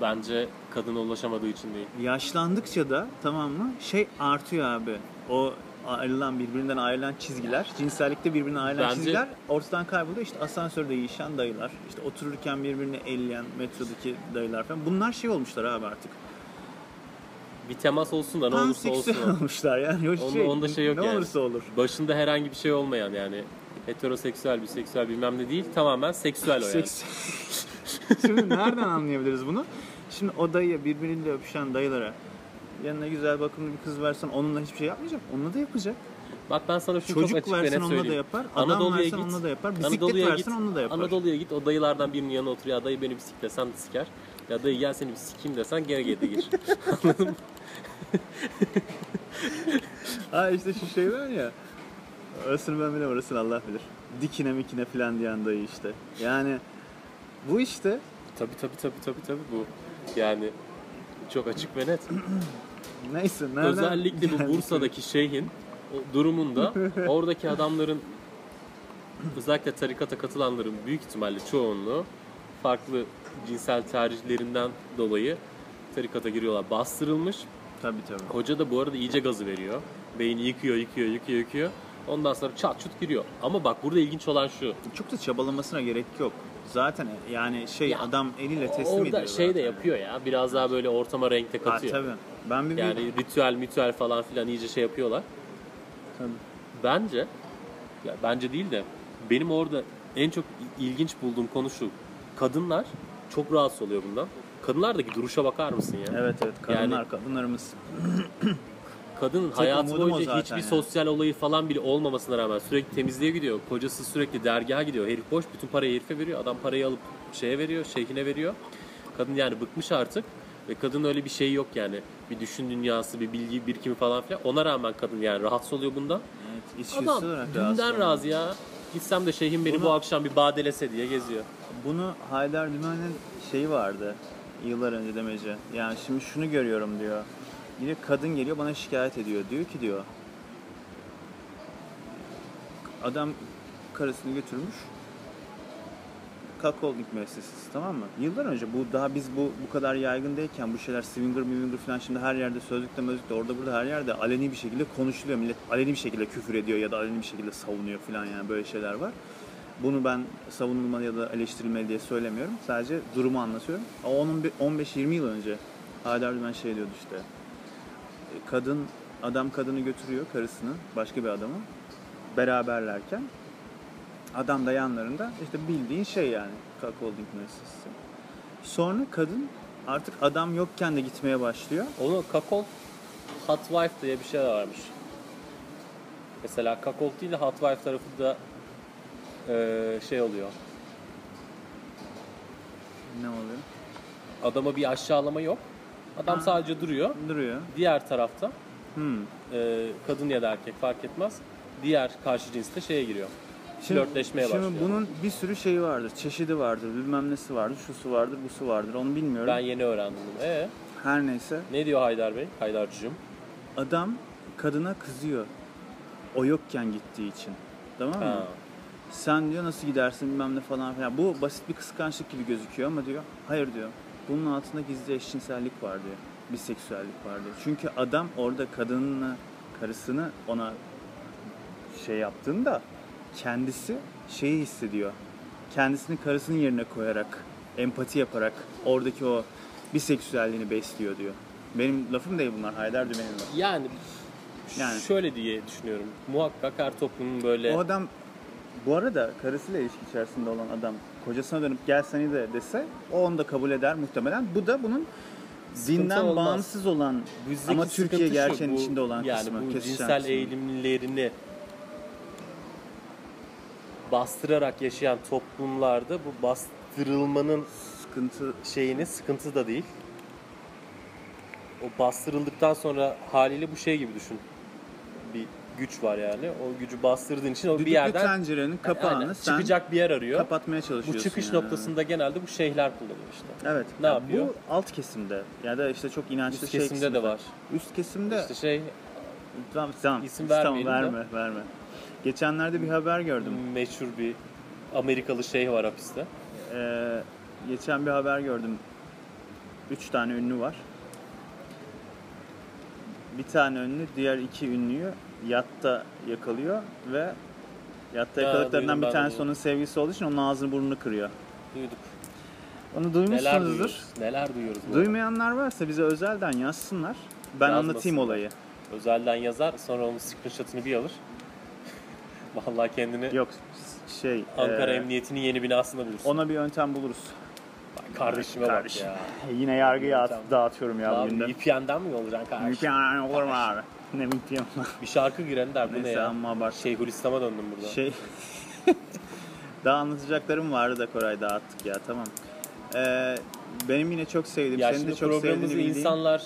S2: Bence kadına ulaşamadığı için değil.
S1: Yaşlandıkça da tamam mı şey artıyor abi. O ayrılan birbirinden ayrılan çizgiler, cinsellikte birbirinden ayrılan
S2: Bence-
S1: çizgiler ortadan kayboluyor. İşte asansörde yiyişen dayılar, işte otururken birbirini elleyen metrodaki dayılar falan. Bunlar şey olmuşlar abi artık.
S2: Bir temas olsun da ne olursa olsun.
S1: Panseksüel olmuşlar yani. O
S2: Onda-
S1: şey,
S2: onda şey yok
S1: ne
S2: yani.
S1: olursa olur.
S2: Başında herhangi bir şey olmayan yani heteroseksüel, biseksüel bilmem ne değil tamamen seksüel o yani.
S1: Seks... Şimdi nereden anlayabiliriz bunu? Şimdi o dayıya birbiriyle öpüşen dayılara yanına güzel bakımlı bir kız versen onunla hiçbir şey yapmayacak. Onunla da yapacak.
S2: Bak ben sana şunu çok
S1: Çocuk
S2: açık ve net
S1: versen onunla da
S2: söyleyeyim.
S1: yapar. Adam
S2: Anadolu'ya
S1: versen
S2: git.
S1: onunla da yapar. Bisiklet
S2: Anadolu'ya
S1: versen
S2: git.
S1: onunla da yapar.
S2: Anadolu'ya git o dayılardan birinin yanına otur ya dayı beni bir siklesen siker. Ya dayı gel seni bir sikeyim desen gene geri gir.
S1: Ha işte şu şey var ya. Orasını ben bilemem orasını Allah bilir. Dikine mikine filan diyen dayı işte. Yani bu işte
S2: tabii tabii tabii tabii tabii bu. Yani çok açık ve net.
S1: neyse nereden
S2: Özellikle bu
S1: geldik?
S2: Bursa'daki şeyhin o durumunda oradaki adamların özellikle tarikata katılanların büyük ihtimalle çoğunluğu farklı cinsel tercihlerinden dolayı tarikata giriyorlar. Bastırılmış.
S1: Tabii tabii.
S2: Hoca da bu arada iyice gazı veriyor. Beyni yıkıyor, yıkıyor, yıkıyor, yıkıyor. Ondan sonra çat çut giriyor. Ama bak burada ilginç olan şu.
S1: Çok da çabalamasına gerek yok. Zaten yani şey
S2: Ya,
S1: adam eliyle teslim ediyor.
S2: Orada şey de
S1: zaten.
S2: yapıyor ya. Biraz daha böyle ortama renkte
S1: Ha,
S2: katıyor.
S1: tabii. Ben bir
S2: Yani ritüel mitüel falan filan iyice şey yapıyorlar.
S1: Tabii.
S2: Bence, ya bence değil de benim orada en çok il- ilginç bulduğum konu şu. Kadınlar çok rahatsız oluyor bundan. Kadınlardaki duruşa bakar mısın ya?
S1: Evet evet kadınlar
S2: Yani-
S1: kadınlarımız.
S2: Kadın
S1: Tek
S2: hayatı
S1: umudum o
S2: boyunca
S1: zaten
S2: hiçbir
S1: yani.
S2: sosyal olayı falan bile olmamasına rağmen sürekli temizliğe gidiyor. Kocası sürekli dergaha gidiyor. Herif boş bütün parayı herife veriyor. Adam parayı alıp şeye veriyor, şeyhine veriyor. Kadın yani bıkmış artık. Ve kadın öyle bir şey yok yani. Bir düşün dünyası, bir bilgi birikimi falan filan. Ona rağmen kadın yani rahatsız oluyor bundan.
S1: Evet, içgüdüsel
S2: Adam
S1: olarak rahatsız
S2: dünden
S1: olan.
S2: razı ya. Gitsem de şeyhim beni
S1: Bunu-
S2: bu akşam bir badelese diye geziyor.
S1: Bunu Haydar Dümen'in şeyi vardı yıllar önce demeci. Yani şimdi şunu görüyorum diyor. Yine kadın geliyor bana şikayet ediyor. Diyor ki diyor. Adam karısını götürmüş. Cuckolding müessesesi tamam mı? Yıllar önce bu daha biz bu bu kadar yaygın değilken bu şeyler swinger mivinger falan şimdi her yerde sözlükte mözlükte orada burada her yerde aleni bir şekilde konuşuluyor. Millet aleni bir şekilde küfür ediyor ya da aleni bir şekilde savunuyor falan yani böyle şeyler var. Bunu ben savunulmalı ya da eleştirilmeli diye söylemiyorum. Sadece durumu anlatıyorum. Ama Onun bir 15-20 yıl önce Haydar Dümen şey diyordu işte. E, Kadın, adam kadını götürüyor karısını, başka bir adamı. Beraberlerken adam da yanlarında işte bildiğin şey yani cuckolding müessesesi. Sonra kadın artık adam yokken de gitmeye başlıyor.
S2: Onu kakol hot wife diye bir şey de varmış. Mesela kakol değil de hot wife tarafı da eee, şey oluyor.
S1: Ne oluyor?
S2: Adama bir aşağılama yok. Adam sadece duruyor.
S1: Duruyor.
S2: Diğer tarafta
S1: Hmm.
S2: eee, kadın ya da erkek fark etmez. Diğer karşı cins de şeye giriyor. Flörtleşmeye
S1: şimdi
S2: başlıyor.
S1: bunun bir sürü şeyi vardır. Çeşidi vardır. Bilmem nesi vardır. Şusu vardır. Busu vardır. Onu bilmiyorum.
S2: Ben yeni öğrendim bunu. Ee,
S1: Her neyse.
S2: ne diyor Haydar Bey? Haydarcığım.
S1: Adam kadına kızıyor. o yokken gittiği için. Tamam mı?
S2: Ha.
S1: Sen diyor nasıl gidersin bilmem ne falan filan. Bu basit bir kıskançlık gibi gözüküyor ama diyor hayır diyor. Bunun altında gizli eşcinsellik var diyor. Biseksüellik var diyor. Çünkü adam orada kadınını, karısını ona şey yaptığında kendisi şeyi hissediyor. Kendisini karısının yerine koyarak, empati yaparak oradaki o biseksüelliğini besliyor diyor. Benim lafım değil bunlar. Haydar Dümen'in lafı.
S2: Yani,
S1: Yani.
S2: şöyle diye düşünüyorum. Muhakkak her toplumun böyle
S1: O adam bu arada karısıyla ilişki içerisinde olan adam kocasına dönüp gel seni de dese o onu da kabul eder muhtemelen. Bu da bunun dinden
S2: olmaz.
S1: bağımsız olan
S2: Bizdeki
S1: ama Türkiye
S2: sıkıntı şu,
S1: gerçeğin
S2: bu-
S1: içinde olan
S2: yani
S1: kısmı.
S2: bu
S1: kesişen
S2: cinsel
S1: kısmı.
S2: eğilimlerini bastırarak yaşayan toplumlarda bu bastırılmanın
S1: Sıkıntı
S2: şeyini sıkıntı da değil. O bastırıldıktan sonra haliyle bu şey gibi düşün. Bir güç var yani. O gücü bastırdığın için o
S1: düdüklü
S2: bir yerden
S1: tencerenin
S2: Yani
S1: kapağını
S2: aynen,
S1: sen
S2: çıkacak bir yer arıyor.
S1: kapatmaya çalışıyorsun.
S2: bu çıkış
S1: yani.
S2: noktasında genelde bu şeyler kullanıyor işte.
S1: Evet.
S2: Ne
S1: ya
S2: yapıyor?
S1: Bu alt kesimde ya da işte çok inançlı
S2: Üst
S1: şey
S2: kesimde de var.
S1: Üst kesimde
S2: İşte şey
S1: tamam, tamam,
S2: İsim
S1: tamam
S2: vermeyelim de.
S1: verme verme. Geçenlerde bir haber gördüm.
S2: meşhur bir Amerikalı şey var hapiste.
S1: Ee, geçen bir haber gördüm. Üç tane ünlü var. Bir tane ünlü diğer iki ünlüyü yatta yakalıyor ve yatta
S2: Ha,
S1: yakaladıklarından
S2: duydum
S1: bir
S2: ben
S1: tanesi
S2: bunu.
S1: onun sevgilisi olduğu için onun ağzını burnunu kırıyor.
S2: Duyduk.
S1: Onu
S2: Neler
S1: duymuşsunuzdur.
S2: duyuyoruz? Neler duyuyoruz? bu
S1: Duymayanlar varsa bize özelden yazsınlar. Ben
S2: Yazmasınlar.
S1: anlatayım olayı.
S2: arada? Özelden yazar sonra onun screenshot'ını bir alır. Vallahi kendini
S1: Yok şey
S2: Ankara
S1: e,
S2: Emniyeti'nin yeni binasında bulursun.
S1: ona bir yöntem buluruz.
S2: Bak Kardeşime
S1: Kardeşim.
S2: bak ya.
S1: Yine yargıya at,
S2: Yöntem.
S1: dağıtıyorum ya bugün
S2: Abi
S1: de.
S2: VPN'den mi yollayacaksın kardeşim?
S1: Mümkün olur mu abi? Ne mümkün
S2: Bir şarkı giren der bu ne
S1: Neyse
S2: ya?
S1: amma abartma.
S2: Şeyhülislam'a döndüm burada.
S1: Şey daha anlatacaklarım vardı da Koray dağıttık ya tamam. Ee, benim yine çok sevdiğim,
S2: ya
S1: senin de
S2: şimdi
S1: çok sevdiğini
S2: programımızı
S1: bildiğin.
S2: insanlar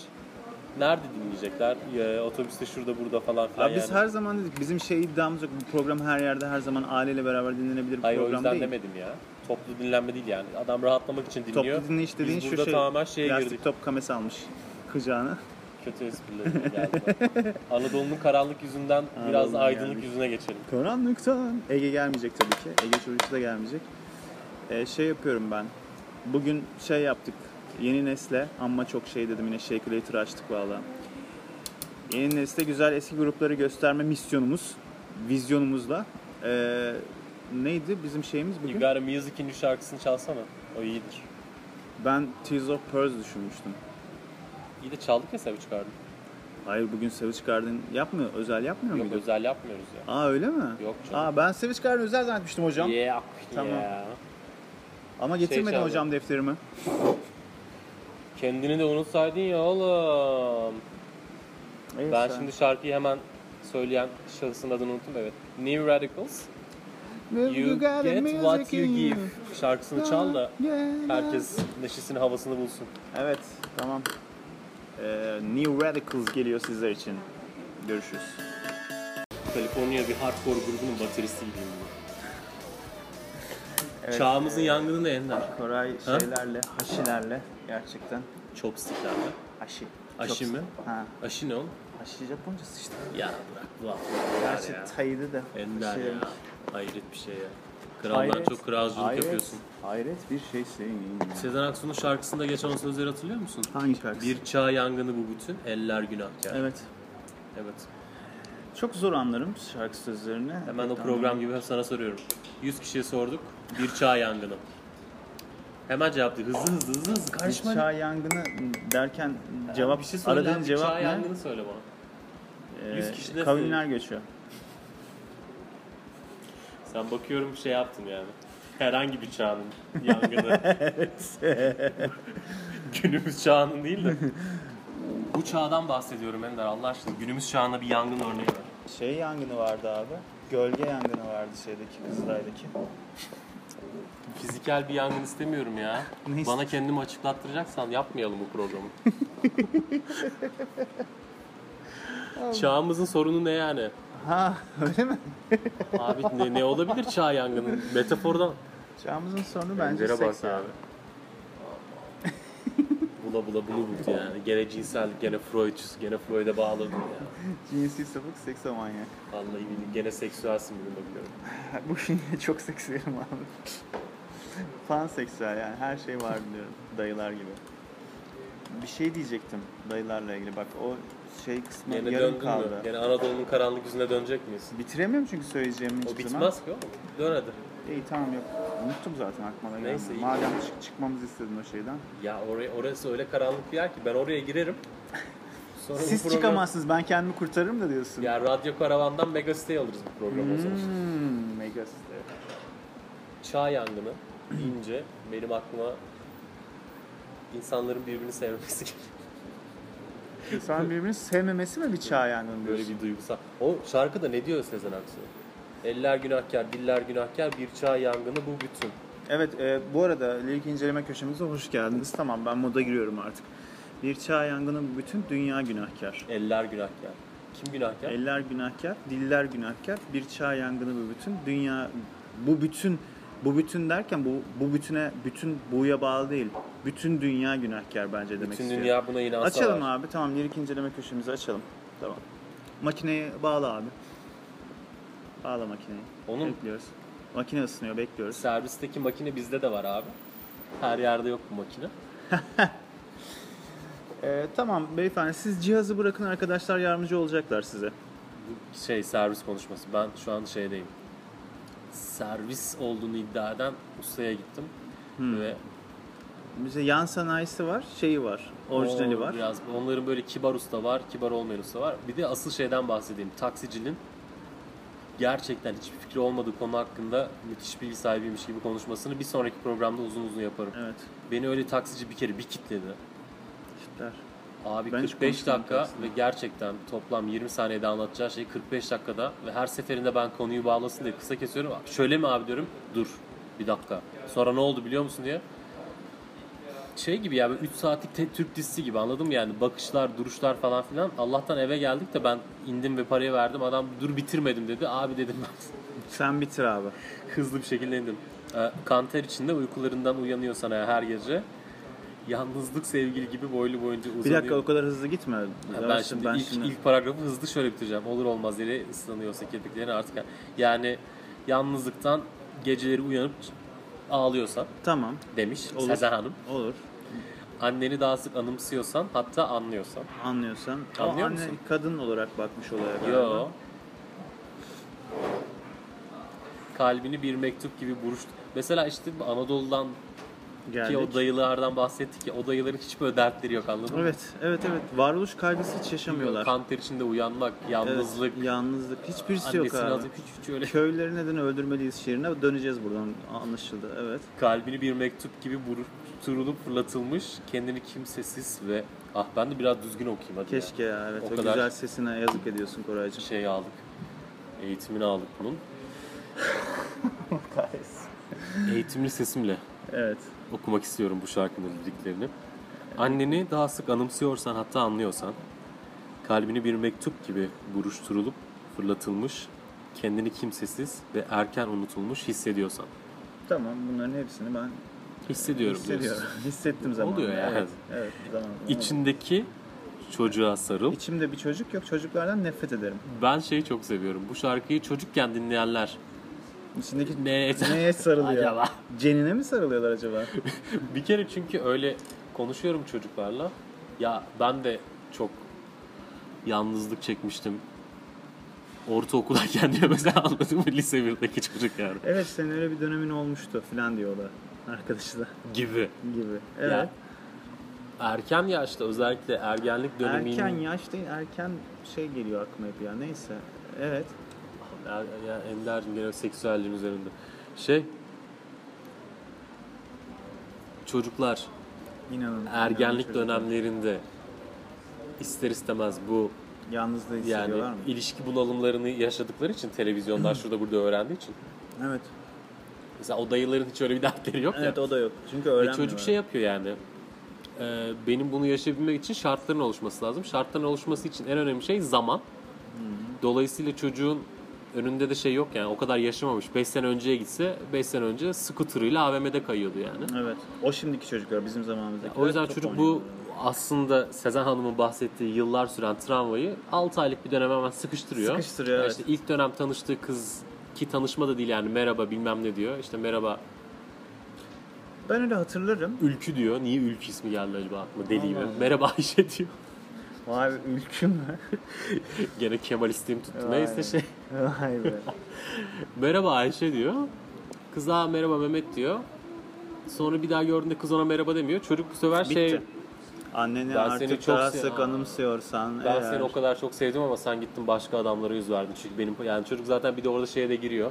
S2: nerede dinleyecekler? Ya, otobüste şurada burada falan filan
S1: Abi biz
S2: yani.
S1: her zaman dedik bizim şey iddiamız yok. Bu program her yerde her zaman aileyle beraber dinlenebilir bir
S2: Hayır o
S1: program
S2: yüzden
S1: değil.
S2: demedim ya. Toplu dinlenme değil yani. Adam rahatlamak için dinliyor.
S1: Toplu dinleyiş dediğin
S2: Biz
S1: şu
S2: burada
S1: şey.
S2: tamamen şeye
S1: plastik
S2: girdik.
S1: top kamesi almış kucağına.
S2: Kötü esprileri geldi. Anadolu'nun karanlık yüzünden biraz
S1: Anadolu'nun
S2: aydınlık
S1: gelmiş.
S2: yüzüne geçelim.
S1: Karanlıktan. Ege gelmeyecek tabii ki. Ege çocuksu da gelmeyecek. Ee, şey yapıyorum ben. Bugün şey yaptık. Yeni nesle ama çok şey dedim yine Shakulator açtık valla. Yeni nesle güzel eski grupları gösterme misyonumuz, vizyonumuzla. Ee, neydi bizim şeyimiz bugün?
S2: Yugara Music'in şarkısını çalsana. O iyidir.
S1: Ben Tears of Pearls düşünmüştüm.
S2: İyi de çaldık ya Savage Garden.
S1: Hayır bugün Savage Garden yapmıyor, özel yapmıyor
S2: Yok
S1: muydu?
S2: özel yapmıyoruz ya.
S1: Aa öyle mi?
S2: Yok canım.
S1: Aa ben Savage Garden özel zannetmiştim hocam.
S2: Yeah,
S1: Tamam.
S2: yeah.
S1: Ama getirmedin
S2: Şey çaldı.
S1: hocam defterimi.
S2: Kendini de unutsaydın ya oğlum. Ben şimdi şarkıyı hemen söyleyen şahsın adını unuttum evet. New Radicals,
S1: You,
S2: You Get What You Give şarkısını çal da herkes neşesini havasını bulsun.
S1: Evet, tamam. Ee, New Radicals geliyor sizler için. Görüşürüz.
S2: Kaliforniya bir hardcore grubunun bateristi gibiyim ben.
S1: e,
S2: Çağımızın yangını da Ender.
S1: Koray
S2: Ha?
S1: şeylerle, haşilerle gerçekten.
S2: Chopstick'lerle.
S1: Haşi.
S2: Haşi
S1: Çok-
S2: mi?
S1: Ha.
S2: Aşı ne oğlum?
S1: Haşi Japoncası işte.
S2: Ya bırak bu hafta.
S1: Gerçi
S2: ya.
S1: Tay'dı da.
S2: Ender
S1: şey-
S2: ya. Hayret bir şey ya. Krallar
S1: Hayret,
S2: çok kralcılık
S1: hayret,
S2: yapıyorsun.
S1: Hayret bir şey şeysin.
S2: Sezen Aksu'nun şarkısında geçen o sözleri hatırlıyor musun?
S1: Hangi şarkısı?
S2: Bir çağ yangını bu bütün, eller günahkar.
S1: Evet.
S2: evet.
S1: Çok zor anlarım şarkı sözlerini. Ee,
S2: Hemen o
S1: Reklamdan-
S2: program gibi hep sana soruyorum. 100 kişiye sorduk. Bir çağ yangını. Hemen cevaplıyor. Hızlı hızlı hızlı hızlı. Karışma.
S1: Bir çağ yangını derken cevap
S2: bir şey söyle.
S1: aradığın
S2: abi,
S1: cevap
S2: çağ
S1: ne?
S2: yangını söyle bana. Yüz kişi
S1: Ee,
S2: de
S1: kavimler göçü.
S2: Sen bakıyorum şey yaptın yani. Herhangi bir çağın yangını. günümüz çağının değil de. Bu çağdan bahsediyorum Ender Allah aşkına. Günümüz çağına bir yangın örneği ver.
S1: Şey yangını vardı abi. Gölge yangını vardı şeydeki Kızılay'daki.
S2: Fiziksel bir yangın istemiyorum ya.
S1: Neyse.
S2: Bana kendimi açıklattıracaksan yapmayalım bu programı. Çağımızın sorunu ne yani?
S1: Ha öyle mi?
S2: Abi ne, ne olabilir çağ yangını? Metafordan.
S1: Çağımızın sonu bence seks abi.
S2: Bu bula bula bunu buldu yani. Gene cinsel, gene Freudçuz, gene Freud'e bağlı ya.
S1: Cinsi sapık seksomanyak.
S2: Vallahi billahi gene seksüelsin bunu da biliyorum.
S1: Bu şimdi çok seksiyim abi. Panseksüel yani her şey var diyorum dayılar gibi. Bir şey diyecektim dayılarla ilgili bak o şey kısmı
S2: Gene
S1: yarım
S2: döndün
S1: kaldı.
S2: mü? Gene Anadolu'nun karanlık yüzüne dönecek miyiz?
S1: Bitiremiyorum çünkü söyleyeceğimi hiçbir
S2: O
S1: zaman.
S2: bitmez ki oğlum. Dön hadi.
S1: İyi tamam yok. Unuttum zaten aklıma da
S2: Neyse,
S1: gelmedi.
S2: iyi.
S1: Madem çık- çıkmamızı istedin o şeyden.
S2: Ya oraya, orası öyle karanlık bir yer ki ben oraya girerim. Sonra bu
S1: Siz
S2: program-
S1: çıkamazsınız ben kendimi kurtarırım da diyorsun.
S2: Ya radyo karavandan Mega City alırız bu programı o zaman.
S1: Hmm, mega site.
S2: Çağ yangını deyince benim aklıma insanların birbirini sevmesi geliyor.
S1: İnsan birbirini sevmemesi mi bir çağ yangını
S2: Böyle
S1: diyorsun?
S2: bir duygusal. O şarkıda ne diyor Sezen Aksu? Eller günahkar, diller günahkar, bir çağ yangını bu bütün.
S1: Evet, e, bu arada lirik inceleme köşemize hoş geldiniz. Tamam, ben moda giriyorum artık. Bir çağ yangının bütün dünya günahkar.
S2: Eller günahkar. Kim günahkar?
S1: Eller günahkar, diller günahkar. Bir çağ yangını bu bütün dünya bu bütün bu bütün derken bu bu bütüne bütün buya bağlı değil. Bütün dünya günahkar bence demek
S2: bütün
S1: istiyorum.
S2: dünya buna inansa
S1: Açalım
S2: var.
S1: abi. Tamam, lirik inceleme köşemizi açalım. Tamam. Makineyi bağla abi. Bağla makineyi.
S2: Onun-
S1: bekliyoruz. Makine ısınıyor, bekliyoruz.
S2: Servisteki makine bizde de var abi. Her yerde yok bu makine.
S1: Ee, tamam beyefendi siz cihazı bırakın arkadaşlar yardımcı olacaklar size.
S2: Bu şey servis konuşması. Ben şu an şeydeyim. Servis olduğunu iddia eden ustaya gittim.
S1: Hmm.
S2: Ve
S1: Bize yan sanayisi var, şeyi var, orijinali
S2: o
S1: var.
S2: Biraz onların böyle kibar usta var, kibar olmayan usta var. Bir de asıl şeyden bahsedeyim. Taksicinin gerçekten hiçbir fikri olmadığı konu hakkında müthiş bilgi sahibiymiş gibi konuşmasını bir sonraki programda uzun uzun yaparım.
S1: Evet,
S2: Beni öyle taksici bir kere bir kitledi.
S1: kitler.
S2: Abi
S1: Ben hiç
S2: 45
S1: konuşmadım
S2: dakika
S1: taksiden.
S2: ve gerçekten toplam 20 saniyede anlatacağı şey 45 dakikada ve her seferinde ben konuyu bağlasın diye kısa kesiyorum. Şöyle mi abi diyorum? Dur bir dakika. Sonra ne oldu biliyor musun diye. Şey gibi ya 3 saatlik te- Türk dizisi gibi anladın mı yani bakışlar duruşlar falan filan. Allah'tan eve geldik de ben indim ve parayı verdim adam dur bitirmedim dedi. Abi dedim ben
S1: Sen bitir abi.
S2: hızlı bir şekilde indim. Ee, Kanter içinde uykularından uyanıyor sana her gece. Yalnızlık sevgili gibi boylu boyunca uzanıyor.
S1: Bir dakika o kadar hızlı gitme.
S2: Ya ben
S1: Yavaşsın,
S2: şimdi, ilk, ilk paragrafı hızlı şöyle bitireceğim. Olur olmaz yere ıslanıyorsa kirpiklerini artık. Yani yalnızlıktan geceleri uyanıp ağlıyorsan
S1: Tamam,
S2: demiş
S1: Olur.
S2: Sezen Hanım.
S1: olur.
S2: Anneni daha sık anımsıyorsan hatta anlıyorsan.
S1: Anlıyorsan. Ama
S2: Anlıyor
S1: anne
S2: musun?
S1: kadın olarak bakmış olaya galiba.
S2: Yo. Kalbini bir mektup gibi buruştu. Mesela işte Anadolu'dan ki o
S1: Geldik.
S2: dayılardan bahsettik ki o dayıların hiç böyle dertleri yok anladın mı?
S1: Evet, evet, evet. Varoluş kaygısı hiç yaşamıyorlar.
S2: Kanter içinde uyanmak, yalnızlık,
S1: Evet, yalnızlık. Hiçbirisi yok
S2: annesini
S1: abi.
S2: azıp hiç, hiç öyle
S1: Köyleri neden öldürmeliyiz şiirine döneceğiz buradan anlaşıldı. Evet.
S2: kalbini bir mektup gibi buruşturulup fırlatılmış, kendini kimsesiz ve ah ben de biraz düzgün okuyayım hadi. ya.
S1: Keşke ya evet
S2: O
S1: o,
S2: kadar-
S1: güzel sesine yazık ediyorsun Koraycığım.
S2: Şey aldık. Eğitimini aldık bunun. Eğitimli sesimle
S1: Evet.
S2: okumak istiyorum bu şarkının liriklerini. Anneni daha sık anımsıyorsan hatta anlıyorsan, kalbini bir mektup gibi buruşturulup fırlatılmış, kendini kimsesiz ve erken unutulmuş hissediyorsan.
S1: Tamam bunların hepsini ben
S2: Hissediyorum
S1: hissediyorum.
S2: diyorsun.
S1: Hissettim zaman.
S2: Oluyor yani.
S1: Evet. evet zaman.
S2: İçindeki çocuğa sarıl.
S1: İçimde bir çocuk yok. Çocuklardan nefret ederim.
S2: Ben şeyi çok seviyorum. Bu şarkıyı çocukken dinleyenler
S1: İçindeki
S2: ne
S1: neye sarılıyor?
S2: Acaba?
S1: Cenine mi sarılıyorlar acaba?
S2: bir kere çünkü öyle konuşuyorum çocuklarla. Ya ben de çok yalnızlık çekmiştim. Ortaokuldayken diyor mesela anladın mı? Lise 1'deki çocuk yani.
S1: evet senin öyle bir dönemin olmuştu falan diyorlar arkadaşlar
S2: Gibi.
S1: gibi. Evet.
S2: Ya, erken yaşta özellikle ergenlik döneminin...
S1: Erken yaş değil, erken şey geliyor aklıma hep ya. Neyse. Evet.
S2: Er- ya Ender'cim gene seksüelliğin üzerinde. Şey... Çocuklar
S1: İnanın.
S2: ergenlik
S1: inanın çocuklar.
S2: dönemlerinde ister istemez bu
S1: Yalnızlığı
S2: yani
S1: hissediyorlar mı?
S2: ilişki bunalımlarını yaşadıkları için televizyondan şurada burada öğrendiği için.
S1: Evet.
S2: Mesela o dayıların hiç öyle bir dertleri yok
S1: Evet
S2: ya.
S1: o da yok. Çünkü
S2: Ve
S1: öğrenmiyorlar.
S2: çocuk şey yapıyor yani. e, benim bunu yaşayabilmek için şartların oluşması lazım. Şartların oluşması için en önemli şey zaman. Dolayısıyla çocuğun önünde de şey yok yani o kadar yaşamamış. 5 sene önceye gitse 5 sene önce scooter'ıyla AVM'de kayıyordu yani.
S1: Evet. O şimdiki çocuklar bizim zamanımızdaki.
S2: O E, yüzden çocuk bu aslında Sezen Hanım'ın bahsettiği yıllar süren travmayı 6 aylık bir döneme hemen sıkıştırıyor.
S1: Sıkıştırıyor, evet.
S2: İşte ilk dönem tanıştığı kız ki tanışma da değil yani merhaba bilmem ne diyor. İşte merhaba
S1: Ben öyle hatırlarım.
S2: Ülkü diyor. Niye Ülkü ismi geldi acaba aklıma deli gibi.
S1: Allah Allah.
S2: Merhaba Ayşe diyor.
S1: Vay be, ülküm mü?
S2: Gene Kemal isteğim tuttu.
S1: Vay.
S2: Neyse şey.
S1: Vay be.
S2: Merhaba Ayşe diyor. Kıza merhaba Mehmet diyor. Sonra bir daha gördüğünde kız ona merhaba demiyor. Çocuk bu sefer şey
S1: Bitti. Anneni
S2: Ben seni
S1: artık
S2: çok
S1: daha
S2: se-
S1: sık
S2: Aa.
S1: anımsıyorsan
S2: ben
S1: eğer-
S2: seni o kadar çok sevdim ama sen gittin başka adamlara yüz verdin. Çünkü benim yani çocuk zaten bir de orada şeye de giriyor.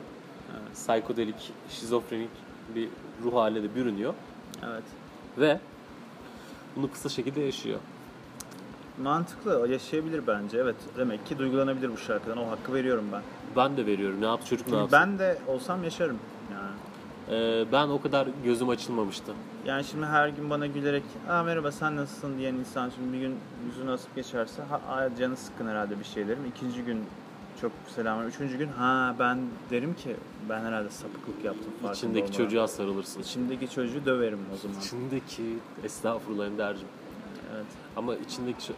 S2: Psikodelik, şizofrenik bir ruh haline de bürünüyor.
S1: Evet.
S2: Ve bunu kısa şekilde yaşıyor.
S1: Mantıklı yaşayabilir bence evet. Demek ki duygulanabilir bu şarkıdan o hakkı veriyorum ben.
S2: Ben de veriyorum. Ne yap çocuk ne yapsın?
S1: Ben de olsam yaşarım yani.
S2: Ee, ben o kadar gözüm açılmamıştı.
S1: Yani şimdi her gün bana gülerek Aa, merhaba sen nasılsın diyen insan şimdi bir gün yüzünü asıp geçerse ha, aa, canı sıkkın herhalde bir şey derim. İkinci gün çok selam ver. Üçüncü gün ha ben derim ki ben herhalde sapıklık yaptım farkında
S2: İçindeki
S1: olmadan."
S2: çocuğa sarılırsın.
S1: İçimdeki çocuğu döverim o zaman.
S2: İçindeki estağfurullah Ender'cim.
S1: Evet.
S2: Ama içindeki şu-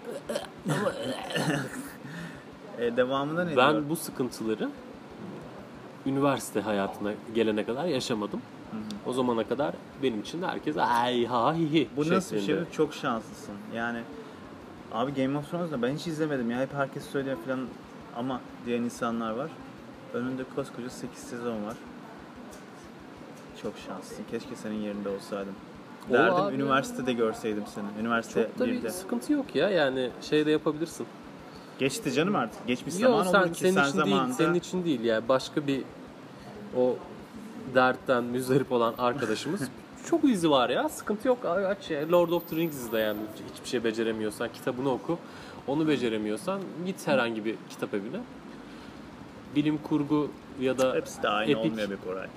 S1: E, devamında ne diyor?
S2: ben bu sıkıntıları üniversite hayatına gelene kadar yaşamadım. O zamana kadar benim için de herkes ay ha hi hi
S1: Bu nasıl bir şey?
S2: şeklinde.
S1: Çok şanslısın. Yani abi Game of Thrones'da ben hiç izlemedim ya. Hep herkes söylüyor falan ama diyen insanlar var. Önünde koskoca 8 sezon var. Çok şanslısın. Keşke senin yerinde olsaydım.
S2: O
S1: Derdim
S2: abi-
S1: üniversitede görseydim seni. Üniversite
S2: Çok da bir
S1: birde.
S2: sıkıntı yok ya yani şey de yapabilirsin.
S1: Geçti canım artık. Geçmiş
S2: Yok
S1: zaman
S2: sen
S1: olur ki
S2: senin için
S1: zamanında...
S2: değil senin için değil ya başka bir o dertten müzdarip olan arkadaşımız çok izi var ya sıkıntı yok Ay, aç ya. Lord of the Rings izle yani hiçbir şey beceremiyorsan kitabını oku onu beceremiyorsan git herhangi bir kitap evine bilim kurgu ya da
S1: Hepsi de aynı
S2: epik-
S1: olmuyor bir Koray.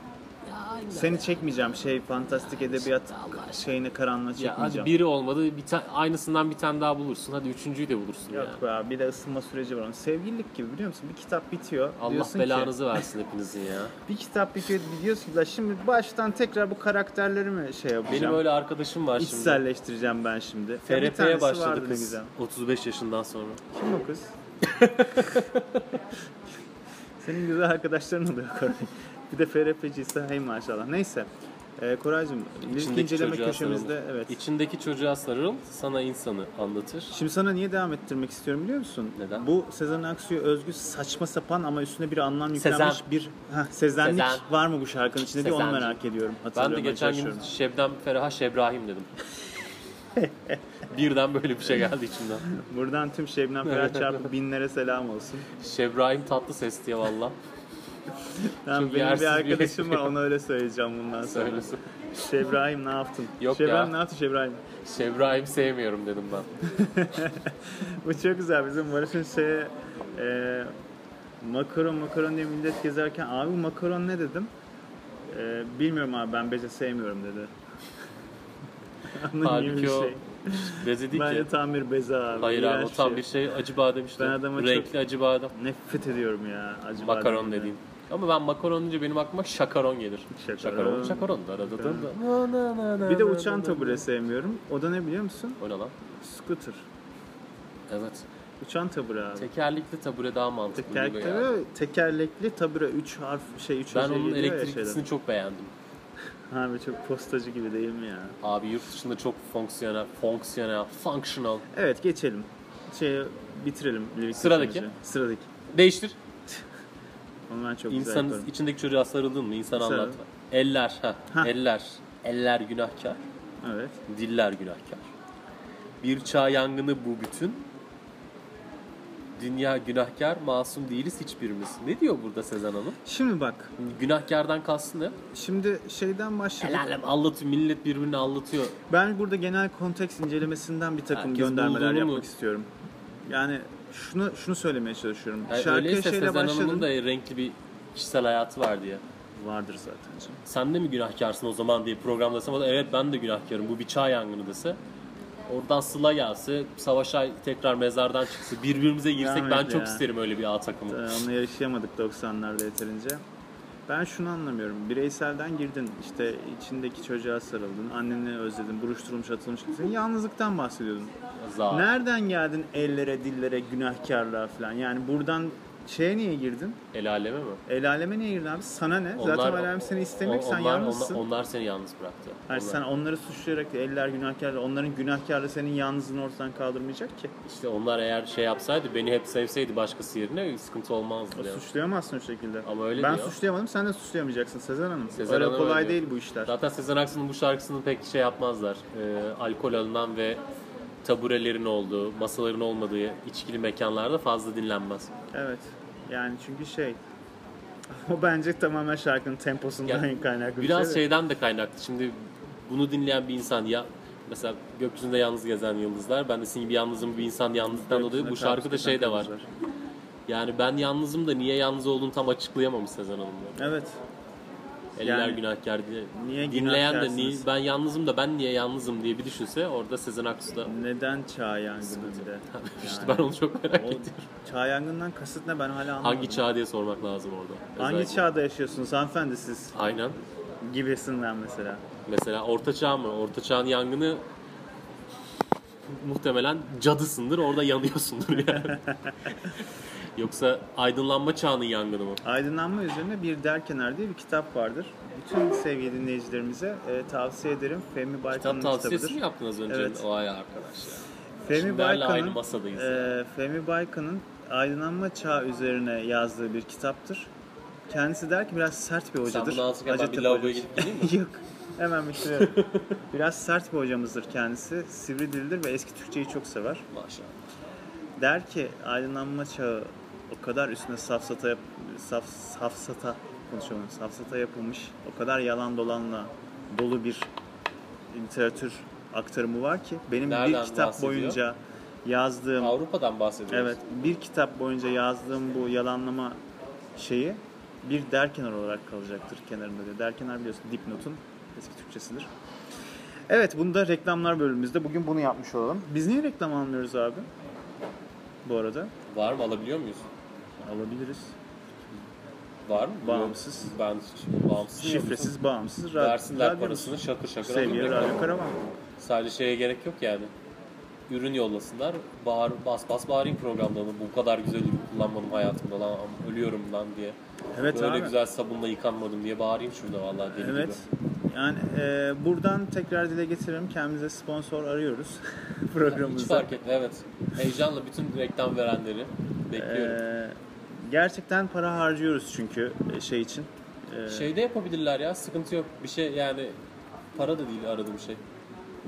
S1: Seni çekmeyeceğim şey fantastik edebiyat şeyine karanlığa
S2: ya
S1: çekmeyeceğim.
S2: hadi biri olmadı bir ta- aynısından bir tane daha bulursun hadi üçüncüyü de bulursun ya.
S1: Yok be abi bir de ısınma süreci var. Onun Sevgililik gibi biliyor musun? Bir kitap bitiyor.
S2: Allah
S1: diyorsun ki,
S2: belanızı versin hepinizin ya.
S1: bir kitap bitiyor diyorsun ki "La şimdi baştan tekrar bu karakterleri mi şey yapacağım?
S2: Benim öyle arkadaşım var şimdi.
S1: İçselleştireceğim ben şimdi. Ya bir
S2: TRP'ye
S1: tanesi
S2: başladı
S1: vardı ne
S2: kız.
S1: güzel.
S2: 35 yaşından sonra.
S1: Kim o kız? Senin güzel arkadaşların oluyor Koray. Bir de FRP'ciyse hey maşallah. Neyse. Ee, Koraycığım, ilk
S2: İçindeki
S1: inceleme
S2: çocuğa
S1: köşemizde
S2: sarıl.
S1: evet.
S2: İçindeki çocuğa sarıl sana insanı anlatır.
S1: Şimdi sana niye devam ettirmek istiyorum biliyor musun?
S2: Neden?
S1: Bu Sezen Aksu'ya özgü saçma sapan ama üstüne bir anlam
S2: Sezen.
S1: yüklenmiş bir Heh, sezenlik
S2: Sezen.
S1: var mı bu şarkının içinde diye onu
S2: Sezenci.
S1: merak ediyorum.
S2: Ben de
S1: Hatırlamaya
S2: geçen gün
S1: çalışıyorum.
S2: Şebnem Ferah'a Şebrahim dedim. Birden böyle bir şey geldi içimden.
S1: Buradan tüm Şebnem Ferah çarpı binlere selam olsun.
S2: Şebrahim tatlı ses diye valla.
S1: Ben
S2: Çok
S1: benim
S2: yersiz
S1: bir
S2: bir
S1: arkadaşım var
S2: espri.
S1: ona öyle söyleyeceğim bundan sonra.
S2: Söylesin.
S1: Şebrahim ne yaptın?
S2: Yok
S1: Şebrahim
S2: ya.
S1: ne yaptı Şebrahim?
S2: Şebrahim sevmiyorum dedim ben.
S1: Bu çok güzel. Bizim Barış'ın şeye e, makaron makaron diye millet gezerken abi bu makaron ne dedim? E, bilmiyorum abi ben bece sevmiyorum dedi. Anladın mı?
S2: Halbuki
S1: Bir
S2: o
S1: şey.
S2: Beze değil
S1: Bence
S2: ki.
S1: tam bir beze abi.
S2: Hayır abi o
S1: İğrenç
S2: tam bir şey acı badem işte.
S1: Ben adama çok-
S2: Renkli acı badem.
S1: Nefret ediyorum ya. Acı
S2: Makaron
S1: bademden.
S2: dediğin. Ama ben makaron deyince benim aklıma şakaron gelir.
S1: Şakaron.
S2: Şakaron. Şakaron. Da, da, da, da. Na, na, na,
S1: Bir de
S2: na,
S1: uçan
S2: na,
S1: tabure sevmiyorum. O da ne biliyor musun?
S2: O ne lan?
S1: Scooter.
S2: Evet.
S1: Uçan tabure abi.
S2: Tekerlekli tabure daha mantıklı gibi
S1: Tekerlekli,
S2: geldi.
S1: tekerlekli tabure 3 harf şey 3
S2: Ben onun elektriklisini çok beğendim.
S1: Abi çok postacı gibi değil mi ya?
S2: Abi yurt dışında çok fonksiyonel, fonksiyonel, functional.
S1: Evet geçelim. Şey bitirelim. Lirik
S2: Sıradaki.
S1: seçimizi. Sıradaki.
S2: Değiştir.
S1: Onu ben çok güzel
S2: İnsanın
S1: yaparım.
S2: içindeki çocuğa sarıldın mı? İnsan
S1: Sarıl.
S2: anlatma. Eller, ha.
S1: Hah.
S2: Eller. Eller günahkar,
S1: Evet.
S2: diller günahkar. Bir çağ yangını bu bütün. Dünya günahkar, masum değiliz hiçbirimiz. Ne diyor burada Sezen Hanım?
S1: Şimdi bak.
S2: Günahkardan kastı ne?
S1: Şimdi şeyden başladık.
S2: El alem anlatıyor, millet birbirini anlatıyor.
S1: Ben burada genel konteks incelemesinden bir takım
S2: Herkes
S1: göndermeler
S2: bulduğunu
S1: yapmak
S2: mu?
S1: istiyorum. Yani şunu şunu söylemeye çalışıyorum.
S2: Yani
S1: Şarkıya
S2: öyleyse
S1: şeyle
S2: Sezen Hanım'ın
S1: başladım.
S2: da renkli bir kişisel hayatı var diye.
S1: Vardır zaten canım.
S2: sen de mi günahkarsın o zaman diye programdasam o da evet ben de günahkarım bu bir çağ yangını dese. Oradan Sıla gelse, Savaşay tekrar mezardan çıksa, birbirimize girsek ben
S1: Rahmetli
S2: çok
S1: ya.
S2: isterim öyle bir A takımı.
S1: Ee, Onunla yarışamadık 90'larda yeterince. Ben şunu anlamıyorum. Bireyselden girdin. işte içindeki çocuğa sarıldın. Anneni özledin. Buruşturulmuş atılmış gittin. Yalnızlıktan bahsediyordun.
S2: Za.
S1: Nereden geldin ellere, dillere, günahkarlığa falan? Yani buradan şeye niye girdin?
S2: El aleme mi?
S1: El aleme niye girdin abi? Sana ne? Zaten el alem seni istemiyor ki.
S2: on-
S1: Sen
S2: onlar,
S1: yalnızsın.
S2: Onlar, onlar seni yalnız bıraktı.
S1: Hayır,
S2: Onlar-
S1: sen onları suçlayarak da eller günahkarlı, onların günahkarlığı senin yalnızlığını ortadan kaldırmayacak ki.
S2: İşte onlar eğer şey yapsaydı beni hep sevseydi başkası yerine sıkıntı olmazdı. yani.
S1: Suçlayamazsın o şekilde.
S2: Ama öyle
S1: ben
S2: diyor.
S1: suçlayamadım, sen de suçlayamayacaksın Sezen Hanım.
S2: Sezen
S1: öyle
S2: Hanım
S1: kolay
S2: öyle diyor.
S1: değil bu işler.
S2: Zaten Sezen Aksu'nun bu şarkısını pek şey yapmazlar. Ee, alkol alınan ve taburelerin olduğu, masaların olmadığı içkili mekanlarda fazla dinlenmez.
S1: Evet. Yani çünkü şey, o bence tamamen şarkının temposundan
S2: Ya,
S1: kaynaklı bir
S2: Biraz
S1: şey. de.
S2: şeyden de kaynaklı. Şimdi bunu dinleyen bir insan ya mesela gökyüzünde yalnız gezen yıldızlar. Ben de senin gibi yalnızım bir insan yalnızlıktan dolayı bu
S1: Hepsine
S2: şarkıda
S1: karşı
S2: şey de var.
S1: kızlar.
S2: Yani ben yalnızım da niye yalnız olduğunu tam açıklayamamış Sezen Hanım'la.
S1: Evet.
S2: Eller
S1: Yani
S2: günahkar diye.
S1: niye
S2: Dinleyen de niye,
S1: günahkarsınız?
S2: ben yalnızım da ben niye yalnızım diye bir düşünse orada Sezen Aksu da
S1: Neden çağ yangınında?
S2: işte ben onu çok merak
S1: o
S2: ediyorum.
S1: çağ yangından kasıt ne ben hala anlamadım.
S2: Hangi çağ diye sormak lazım orada.
S1: Hangi
S2: Özellikle.
S1: çağda yaşıyorsunuz hanımefendi siz
S2: Aynen.
S1: gibisinden mesela.
S2: Mesela orta çağ mı? Orta çağın yangını muhtemelen cadısındır orada yanıyorsundur yani. Yoksa aydınlanma çağının yangını mı?
S1: Aydınlanma üzerine Bir Derkenar diye bir kitap vardır. Bütün sevgili dinleyicilerimize e, tavsiye ederim. Fehmi Baykan'ın
S2: Kitap tavsiyesi
S1: kitabıdır.
S2: mi yaptınız önce?
S1: Evet.
S2: Vay arkadaş ya.
S1: Fehmi
S2: Şimdi hala aynı
S1: Baykan'ın
S2: masadayız.
S1: e, Fehmi Baykan'ın Aydınlanma Çağı üzerine yazdığı bir kitaptır. Kendisi der ki biraz sert bir
S2: Sen
S1: hocadır.
S2: bunu anlatırken ben bir
S1: Hacettepe
S2: lavaboya
S1: hocası.
S2: gidip geleyim mi?
S1: Yok. Hemen bitiriyorum. biraz sert bir hocamızdır kendisi. Sivri dillidir ve eski Türkçeyi çok sever.
S2: Maşallah.
S1: Der ki aydınlanma çağı o kadar üstüne safsata yap, saf, safsata konuşamıyorum. Safsata yapılmış. O kadar yalan dolanla dolu bir literatür aktarımı var ki benim
S2: Nereden
S1: bir kitap
S2: bahsediyor?
S1: boyunca yazdığım
S2: Avrupa'dan bahsediyoruz.
S1: evet bir kitap boyunca yazdığım bu yalanlama şeyi bir derkenar olarak kalacaktır kenarında diyor. Derkenar biliyorsun dipnotun eski Türkçesidir. Evet bunu da reklamlar bölümümüzde bugün bunu yapmış olalım. Biz niye reklam almıyoruz abi? Bu arada
S2: Var mı alabiliyor muyuz?
S1: alabiliriz.
S2: Var mı?
S1: Bağımsız.
S2: Ben hiç- bağımsız mı yoksa?
S1: Şifresiz, bağımsız, rad-
S2: Versinler
S1: radyomuz.
S2: parasını şakır şakır
S1: Sevgili
S2: alın.
S1: Radyo Karavan.
S2: Sadece şeye gerek yok yani. Ürün yollasınlar. Bağır, bas bas bağırayım programlarını. Bu kadar güzel ürün kullanmadım hayatımda lan. Ölüyorum lan diye.
S1: Evet
S2: Böyle
S1: abi.
S2: güzel şey sabunla yıkanmadım diye bağırayım şurada vallahi deli
S1: Evet. Yani e, buradan tekrar dile getiririm. Kendimize sponsor arıyoruz
S2: gibi. Hiç
S1: programımıza.
S2: fark etme evet. Heyecanla bütün reklam verenleri bekliyorum.
S1: Ee, gerçekten para harcıyoruz çünkü e, şey için. Ee,
S2: Şeyde Şey yapabilirler ya sıkıntı yok. Bir şey yani para da değil aradığım şey.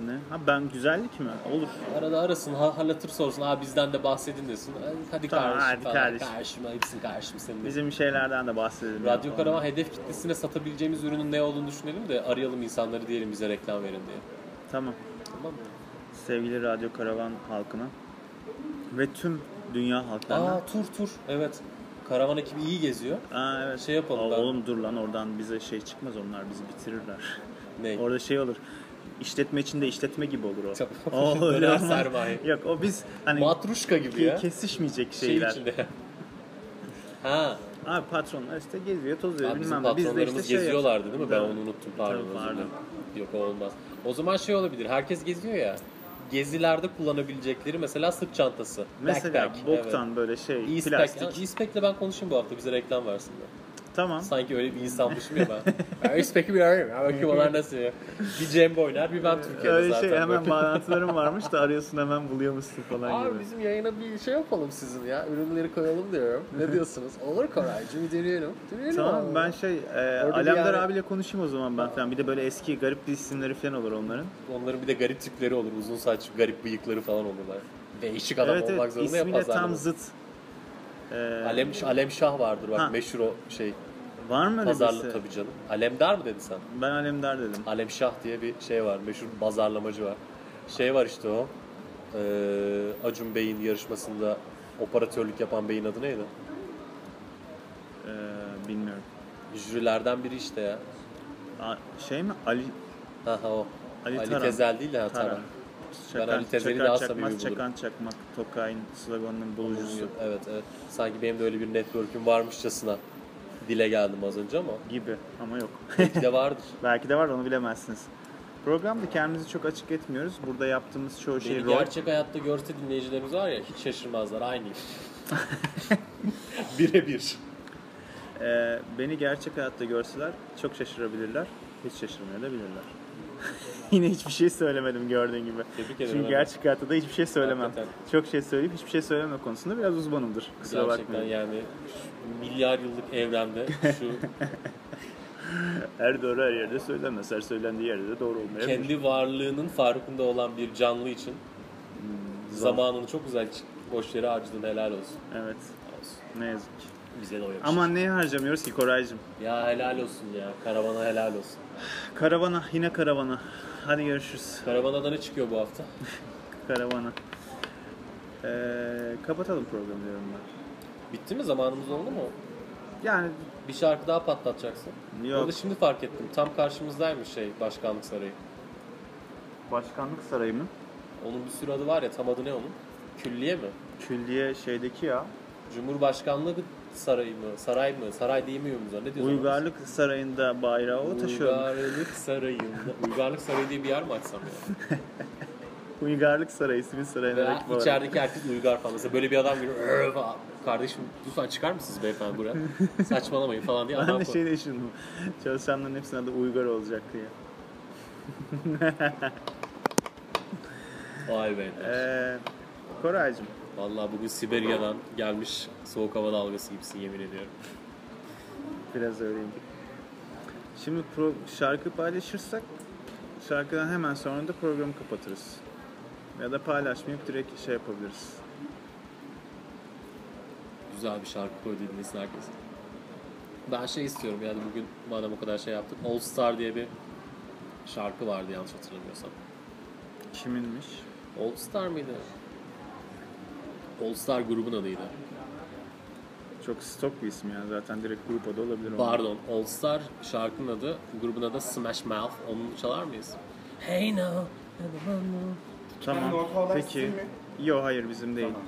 S1: ne? Ha ben güzellik mi? Olur.
S2: Arada arasın, ha- halatır sorsun. Aa bizden de bahsedin desin. Hadi
S1: Tamam,
S2: kardeşim
S1: hadi
S2: falan.
S1: kardeşim.
S2: Kardeşim, ayıpsın kardeşim senin. de.
S1: Bizim şeylerden de bahsedelim.
S2: Radyo
S1: ya.
S2: Karavan hedef kitlesine satabileceğimiz ürünün ne olduğunu düşünelim de arayalım insanları diyelim bize reklam verin diye.
S1: Tamam.
S2: Tamam mı?
S1: Sevgili Radyo Karavan halkına ve tüm dünya halklarına.
S2: Aa tur tur. Evet. Karavan ekibi iyi geziyor.
S1: Aa, evet.
S2: Şey yapalım
S1: Aa,
S2: ben-
S1: Oğlum dur lan oradan bize şey çıkmaz onlar bizi bitirirler.
S2: Ne?
S1: Orada şey olur. İşletme içinde işletme gibi olur o.
S2: Tamam.
S1: o öyle
S2: Döner
S1: olmaz.
S2: sermaye.
S1: Yok o biz hani
S2: Matruşka gibi ya.
S1: kesişmeyecek
S2: şey
S1: şeyler.
S2: içinde. ha.
S1: Abi patronlar işte geziyor, tozuyor
S2: Abi bizim
S1: bilmem ne. Biz de
S2: patronlarımız
S1: işte şey
S2: geziyorlardı değil mi? Ben
S1: Evet.
S2: onu unuttum pardon.
S1: Tabii,
S2: özür
S1: pardon.
S2: dilerim. Yok o olmaz. O zaman şey olabilir. Herkes geziyor ya. Gezilerde kullanabilecekleri mesela sırt çantası.
S1: Mesela
S2: Backpack,
S1: boktan böyle
S2: evet.
S1: şey
S2: E-spec.
S1: plastik.
S2: Ha, E-spec'le ben konuşayım bu hafta bize reklam versinler.
S1: Tamam.
S2: Sanki öyle bir insanmışım ya ben. ben E-spec'i bir arayayım. ya, Bakayım onlar nasıl ya. Bir Cembe oynar bir ben Türkiye'de
S1: Öyle
S2: zaten.
S1: şey hemen
S2: Böyle.
S1: bağlantılarım varmış da arıyorsun hemen buluyormuşsun falan
S2: Abi
S1: gibi.
S2: bizim yayına bir şey yapalım sizin ya. Ürünleri koyalım diyorum. Ne diyorsunuz? Olur Koraycığım deneyelim. Deneyelim
S1: Tamam
S2: abi.
S1: ben şey e,
S2: Orada bir
S1: Alemdar
S2: yani-
S1: abiyle konuşayım o zaman ben falan. Bir de böyle eski garip bir isimleri falan olur onların.
S2: Onların bir de garip tipleri olur. Uzun saç, garip bıyıkları falan olurlar. Değişik adam
S1: evet
S2: olmak
S1: evet
S2: zorunda ya
S1: ismiyle tam
S2: pazarlama.
S1: zıt. Ee,
S2: Alem, Alem Şah vardır bak
S1: Ha.
S2: meşhur o şey.
S1: var mı öyle
S2: Pazarlı
S1: birisi?
S2: tabii canım. Alemdar mı dedin sen?
S1: Ben Alemdar dedim.
S2: Alem Şah diye bir şey var. Meşhur pazarlamacı var. Şey var işte o. Ee, Acun Bey'in yarışmasında operatörlük yapan beyin adı neydi?
S1: Ee, bilmiyorum.
S2: Jürilerden biri işte ya.
S1: A- şey mi? Ali
S2: Ha ha o. Ali,
S1: Ali Taran.
S2: Tezel değil de ha,
S1: Taran.
S2: Taran.
S1: Çakan,
S2: Ali Tezer'i
S1: Çakan
S2: daha samimi
S1: Çakmaz,
S2: bulurum.
S1: Çakan Çakmak, Tokay'ın sloganının bulucusu.
S2: Evet evet. Sanki benim de öyle bir network'üm varmışçasına. dile geldim az önce ama
S1: gibi ama yok.
S2: belki de vardır.
S1: Belki de var onu bilemezsiniz. Programda kendimizi çok açık etmiyoruz. Burada yaptığımız çoğu şey
S2: Beni
S1: rol.
S2: gerçek hayatta görse dinleyicilerimiz var ya hiç şaşırmazlar aynı iş. Birebir.
S1: Ee, beni gerçek hayatta görseler çok şaşırabilirler. Hiç şaşırmayabilirler. Yine hiçbir şey söylemedim gördüğün gibi.
S2: Tebrik ederim.
S1: Çünkü
S2: abi.
S1: gerçek hayatta da hiçbir şey söylemem.
S2: Hakikaten.
S1: Çok şey söyleyip hiçbir şey söyleme konusunda biraz uzmanımdır. Kusura
S2: Gerçekten
S1: bakmayın.
S2: yani şu milyar yıllık evrende şu
S1: Her doğru her yerde söylenmez. Her söylendiği yerde de doğru olmayabilir.
S2: kendi varlığının farkında olan bir canlı için
S1: Hmm,
S2: zamanını çok güzel boş yere harcadın helal olsun.
S1: Evet.
S2: olsun.
S1: Ne yazık ki.
S2: Bize de o yakışır.
S1: Ama neye harcamıyoruz ki Koraycığım?
S2: Ya helal olsun ya. Karavana helal olsun.
S1: Karavana. Yine karavana. Hadi görüşürüz.
S2: Karavana da ne çıkıyor bu hafta?
S1: Karavana. Ee, kapatalım programı diyorum ben.
S2: Bitti mi? Zamanımız oldu mu?
S1: Yani
S2: Bir şarkı daha patlatacaksın.
S1: Yok.
S2: Onu da şimdi fark ettim. Tam karşımızdaymış şey Başkanlık Sarayı.
S1: başkanlık sarayı mı?
S2: Onun bir sürü adı var ya tam adı ne onun? Külliye mi?
S1: Külliye şeydeki ya.
S2: Cumhurbaşkanlığı Sarayı mı? Saray mı? Saray diyemiyor muyuz? ona? Ne diyorsun?
S1: Uygarlık sarayında bayrağı o taşıyor.
S2: Uygarlık Sarayı'nda. Uygarlık Sarayı diye bir yer mi açsam ya?
S1: Uygarlık sarayı ismin sarayına
S2: Veya
S1: renk bu arada.
S2: içerideki herkes uygar falan. Mesela böyle bir adam geliyor. "Öö" falan. Kardeşim lütfen çıkar mısınız beyefendi buraya? Saçmalamayın falan diye
S1: Ben
S2: adam
S1: de
S2: koy.
S1: şey düşündüm. Çalışanların hepsinin adı Uygar olacak diye.
S2: Vay be.
S1: Ee, Koraycığım
S2: Vallahi bugün Siberya'dan gelmiş soğuk hava dalgası gibisin yemin ediyorum.
S1: biraz öyleyim. Şimdi pro- şarkı paylaşırsak şarkıdan hemen sonra da programı kapatırız. Ya da paylaşmayıp direkt şey yapabiliriz.
S2: Güzel bir şarkı koy dinlesin herkes. Ben şey istiyorum yani bugün madem o kadar şey yaptık. All Star diye bir şarkı vardı yanlış hatırlamıyorsam.
S1: Kiminmiş?
S2: All Star mıydı? All Star grubun adıydı.
S1: Çok stok bir isim ya zaten direkt grup adı olabilir. onun.
S2: Pardon All Star şarkının adı grubun adı Smash Mouth. Onu çalar mıyız? Hey now.
S1: Tamam.
S4: Ben de orta olan sizin
S1: Peki.
S4: mi?
S1: Yo hayır bizim değil.
S4: Tamam.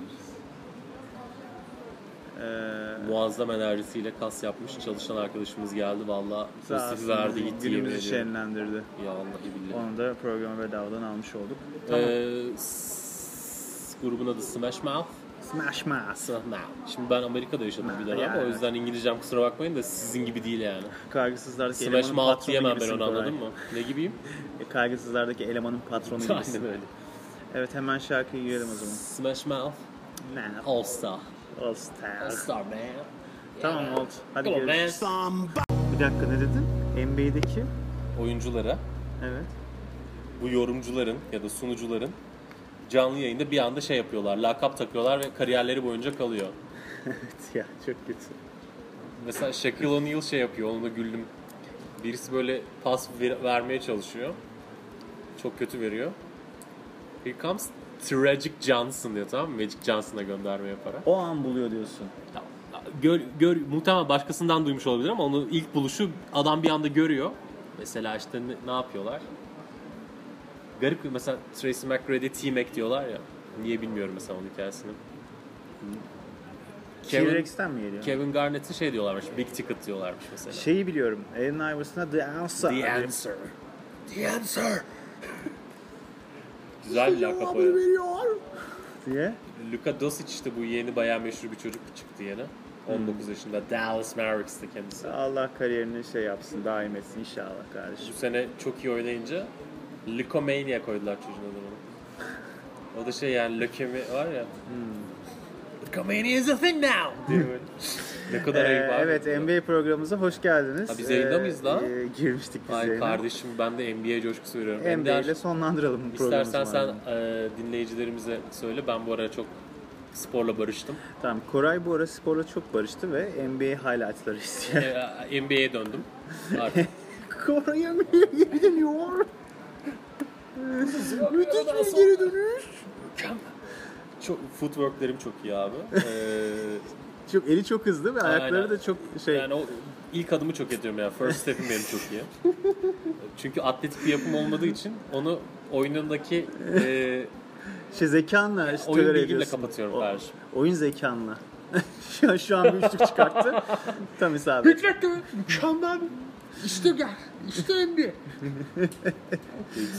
S1: Ee,
S2: Muazzam enerjisiyle kas yapmış çalışan arkadaşımız geldi. Valla
S1: sağ
S2: pozitif verdi
S1: olsun, şey-
S2: gitti yemin
S1: Günümüzü
S2: ediyorum.
S1: şenlendirdi.
S2: Ya Allah'ı billahi.
S1: Onu da programa bedavadan almış olduk.
S2: Ee, s- grubun adı Smash Mouth.
S1: Smash Mass.
S2: Smash Mouth. Şimdi ben Amerika'da yaşadım bir dönem
S1: Yani.
S2: o yüzden İngilizcem kusura bakmayın da sizin gibi değil yani.
S1: Kaygısızlardaki
S2: Smash
S1: elemanın
S2: Mouth
S1: patronu
S2: diyemem ben
S1: gibisin
S2: onu
S1: Koray.
S2: anladın mı? Ne gibiyim?
S1: E, Kaygısızlardaki elemanın patronu
S2: Aynen
S1: gibisin.
S2: öyle.
S1: Evet hemen şarkıyı yiyelim o zaman.
S2: Smash Mouth.
S1: Ne?
S2: All Star.
S1: All Star.
S2: All Star man.
S1: Tamam oldu. Hadi
S2: Come on, man.
S1: görüşürüz. Bir dakika ne dedin? NBA'deki?
S2: Oyunculara,
S1: Evet.
S2: bu yorumcuların ya da sunucuların canlı yayında bir anda şey yapıyorlar. Lakap takıyorlar ve kariyerleri boyunca kalıyor.
S1: Evet ya çok kötü.
S2: Mesela Shaquille O'Neal şey yapıyor, onu da güldüm. Birisi böyle pas ver- vermeye çalışıyor. Çok kötü veriyor. Here comes Tragic Johnson diyor tamam mı? Magic Johnson'a gönderme yaparak.
S5: O an buluyor diyorsun.
S2: Gör, gör, muhtemelen başkasından duymuş olabilir ama onu ilk buluşu adam bir anda görüyor. Mesela işte ne, ne yapıyorlar? Garip bir mesela Tracy McGrady T-Mac diyorlar ya. Niye bilmiyorum mesela onun hikayesini. Kevin,
S1: T-Rex'ten mi geliyor?
S2: Kevin Garnett'i şey diyorlarmış, Big Ticket diyorlarmış mesela.
S1: Şeyi biliyorum. Allen Iverson'a The Answer.
S2: The answer. The answer. Güzel bir lakap o ya.
S1: diye.
S2: Luka Doncic işte bu yeni bayağı meşhur bir çocuk çıktı yeni.
S1: Hmm.
S2: 19 yaşında Dallas Mavericks'te kendisi.
S1: Allah kariyerini şey yapsın, daim etsin inşallah
S2: Bu
S1: kardeşim.
S2: sene çok iyi oynayınca Lukomania koydular çocuğun adını. O da şey yani lökemi var ya.
S1: Hmm.
S2: Lukomania is a thing now. diye böyle. ne kadar ayıp
S1: Ee,
S2: abi.
S1: evet NBA programımıza hoş geldiniz.
S2: Ha, biz yayında mıyız lan?
S1: e, girmiştik biz
S2: Ay
S1: yayına.
S2: kardeşim ben de NBA coşkusu veriyorum.
S1: NBA
S2: Ender,
S1: ile sonlandıralım bu programımızı.
S2: İstersen sen
S1: madem.
S2: e, dinleyicilerimize söyle. Ben bu ara çok sporla barıştım.
S1: Tamam Koray bu ara sporla çok barıştı ve NBA highlightları istiyor.
S2: E, NBA'ye döndüm. Artık.
S1: Koray NBA'ye geri dönüyor. Müthiş bir geri dönüş.
S2: çok, footworklerim çok iyi abi. E,
S1: Çok, eli çok hızlı ve ayakları
S2: Aynen.
S1: da çok şey.
S2: yani o ilk adımı çok ediyorum ya. First step'im benim çok iyi. Çünkü atletik bir yapım olmadığı için onu oyunundaki e,
S1: şey zekanla
S2: oyun
S1: tolere
S2: bilgimle
S1: ediyorsun.
S2: kapatıyorum
S1: O-
S2: kardeşim.
S1: Oyun zekanla. şu, şu an bir üçlük çıkarttı. Tam isabet.
S2: Sev-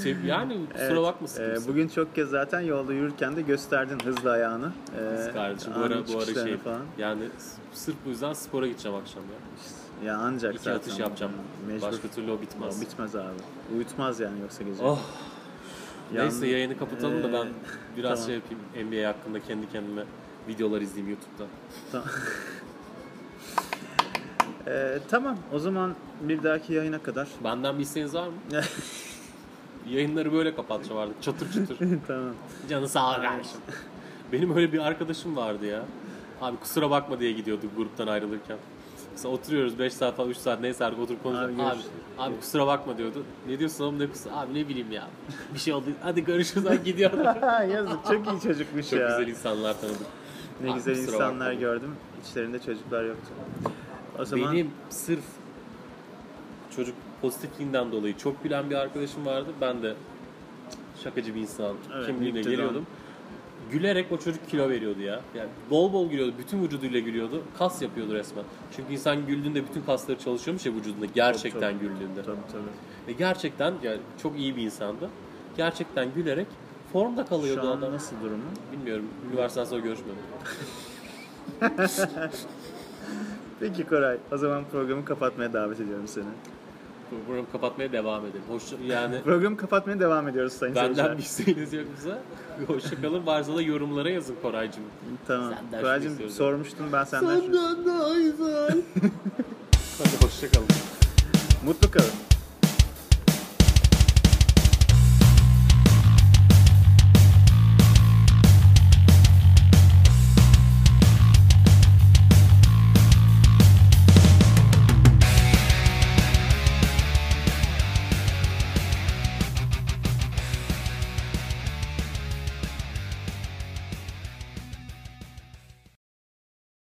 S2: Şey, Yani kusura
S1: Evet,
S2: bakmasın.
S1: e,
S2: kimse.
S1: bugün çok kez zaten yolda yürürken de gösterdin hızlı ayağını. E,
S2: kardeşim bu
S1: ani
S2: ara, bu ara
S1: çıkışlarını
S2: şey
S1: Falan.
S2: yani s- sırf bu yüzden spora gideceğim akşam ya.
S1: Ya ancak
S2: İki
S1: zaten.
S2: atış yapacağım.
S1: Mecbur.
S2: Başka türlü o bitmez.
S1: O bitmez abi. Uyutmaz yani yoksa gece.
S2: Oh.
S1: Yalnız-
S2: Neyse yayını kapatalım da ben
S1: Ee,
S2: biraz
S1: tamam.
S2: şey yapayım NBA hakkında kendi kendime videolar izleyeyim YouTube'da.
S1: Tamam. E, tamam o zaman bir dahaki yayına kadar.
S2: Benden bir isteğiniz var mı? Yayınları böyle kapatacağım artık çatır çatır.
S1: tamam.
S2: Canı sağ ol kardeşim. Benim öyle bir arkadaşım vardı ya. Abi kusura bakma diye gidiyordu gruptan ayrılırken. Mesela oturuyoruz 5 saat falan 3 saat neyse artık oturup konuşuyoruz.
S1: Abi
S2: Abi, abi,
S1: görüşürüz.
S2: kusura bakma diyordu. Ne diyorsun oğlum ne kusura? Abi ne bileyim ya. Bir şey oldu. Hadi görüşürüz. Hadi gidiyorum.
S1: Ha, Yazık çok iyi çocukmuş
S2: Çok
S1: ya.
S2: güzel insanlar tanıdık.
S1: Ne
S2: Abi,
S1: güzel
S2: kusura
S1: insanlar
S2: bakma.
S1: gördüm. İçlerinde çocuklar yoktu. O zaman
S2: Benim sırf çocuk pozitifliğinden dolayı çok gülen bir arkadaşım vardı. Ben de şakacı bir insan
S1: Evet,
S2: kimliğine
S1: nüktedan.
S2: geliyordum. Gülerek o çocuk kilo veriyordu ya. Yani bol bol gülüyordu. Bütün vücuduyla gülüyordu. Kas yapıyordu resmen. Çünkü insan güldüğünde bütün kasları çalışıyormuş ya vücudunda. Gerçekten
S1: Tabii,
S2: güldüğünde.
S1: tabii tabii.
S2: Ve gerçekten yani çok iyi bir insandı. Gerçekten gülerek formda kalıyordu
S1: Şu an
S2: adam.
S1: nasıl durumu?
S2: Bilmiyorum. Üniversiteden sonra görüşmedim.
S1: Peki Koray, o zaman programı kapatmaya davet ediyorum seni.
S2: Programı kapatmaya devam edelim. Hoş yani
S1: Programı kapatmaya devam ediyoruz sayın
S2: Benden
S1: seyirciler.
S2: bir isteğiniz yoksa hoşçakalın. Varsa da yorumlara yazın Koraycığım.
S1: Tamam.
S2: şey- Senden şunu
S1: Koraycığım
S2: istiyorum.
S1: sormuştun ben senden. şunu-
S2: daha güzel. Hadi hoşçakalın.
S1: Mutlu kalın.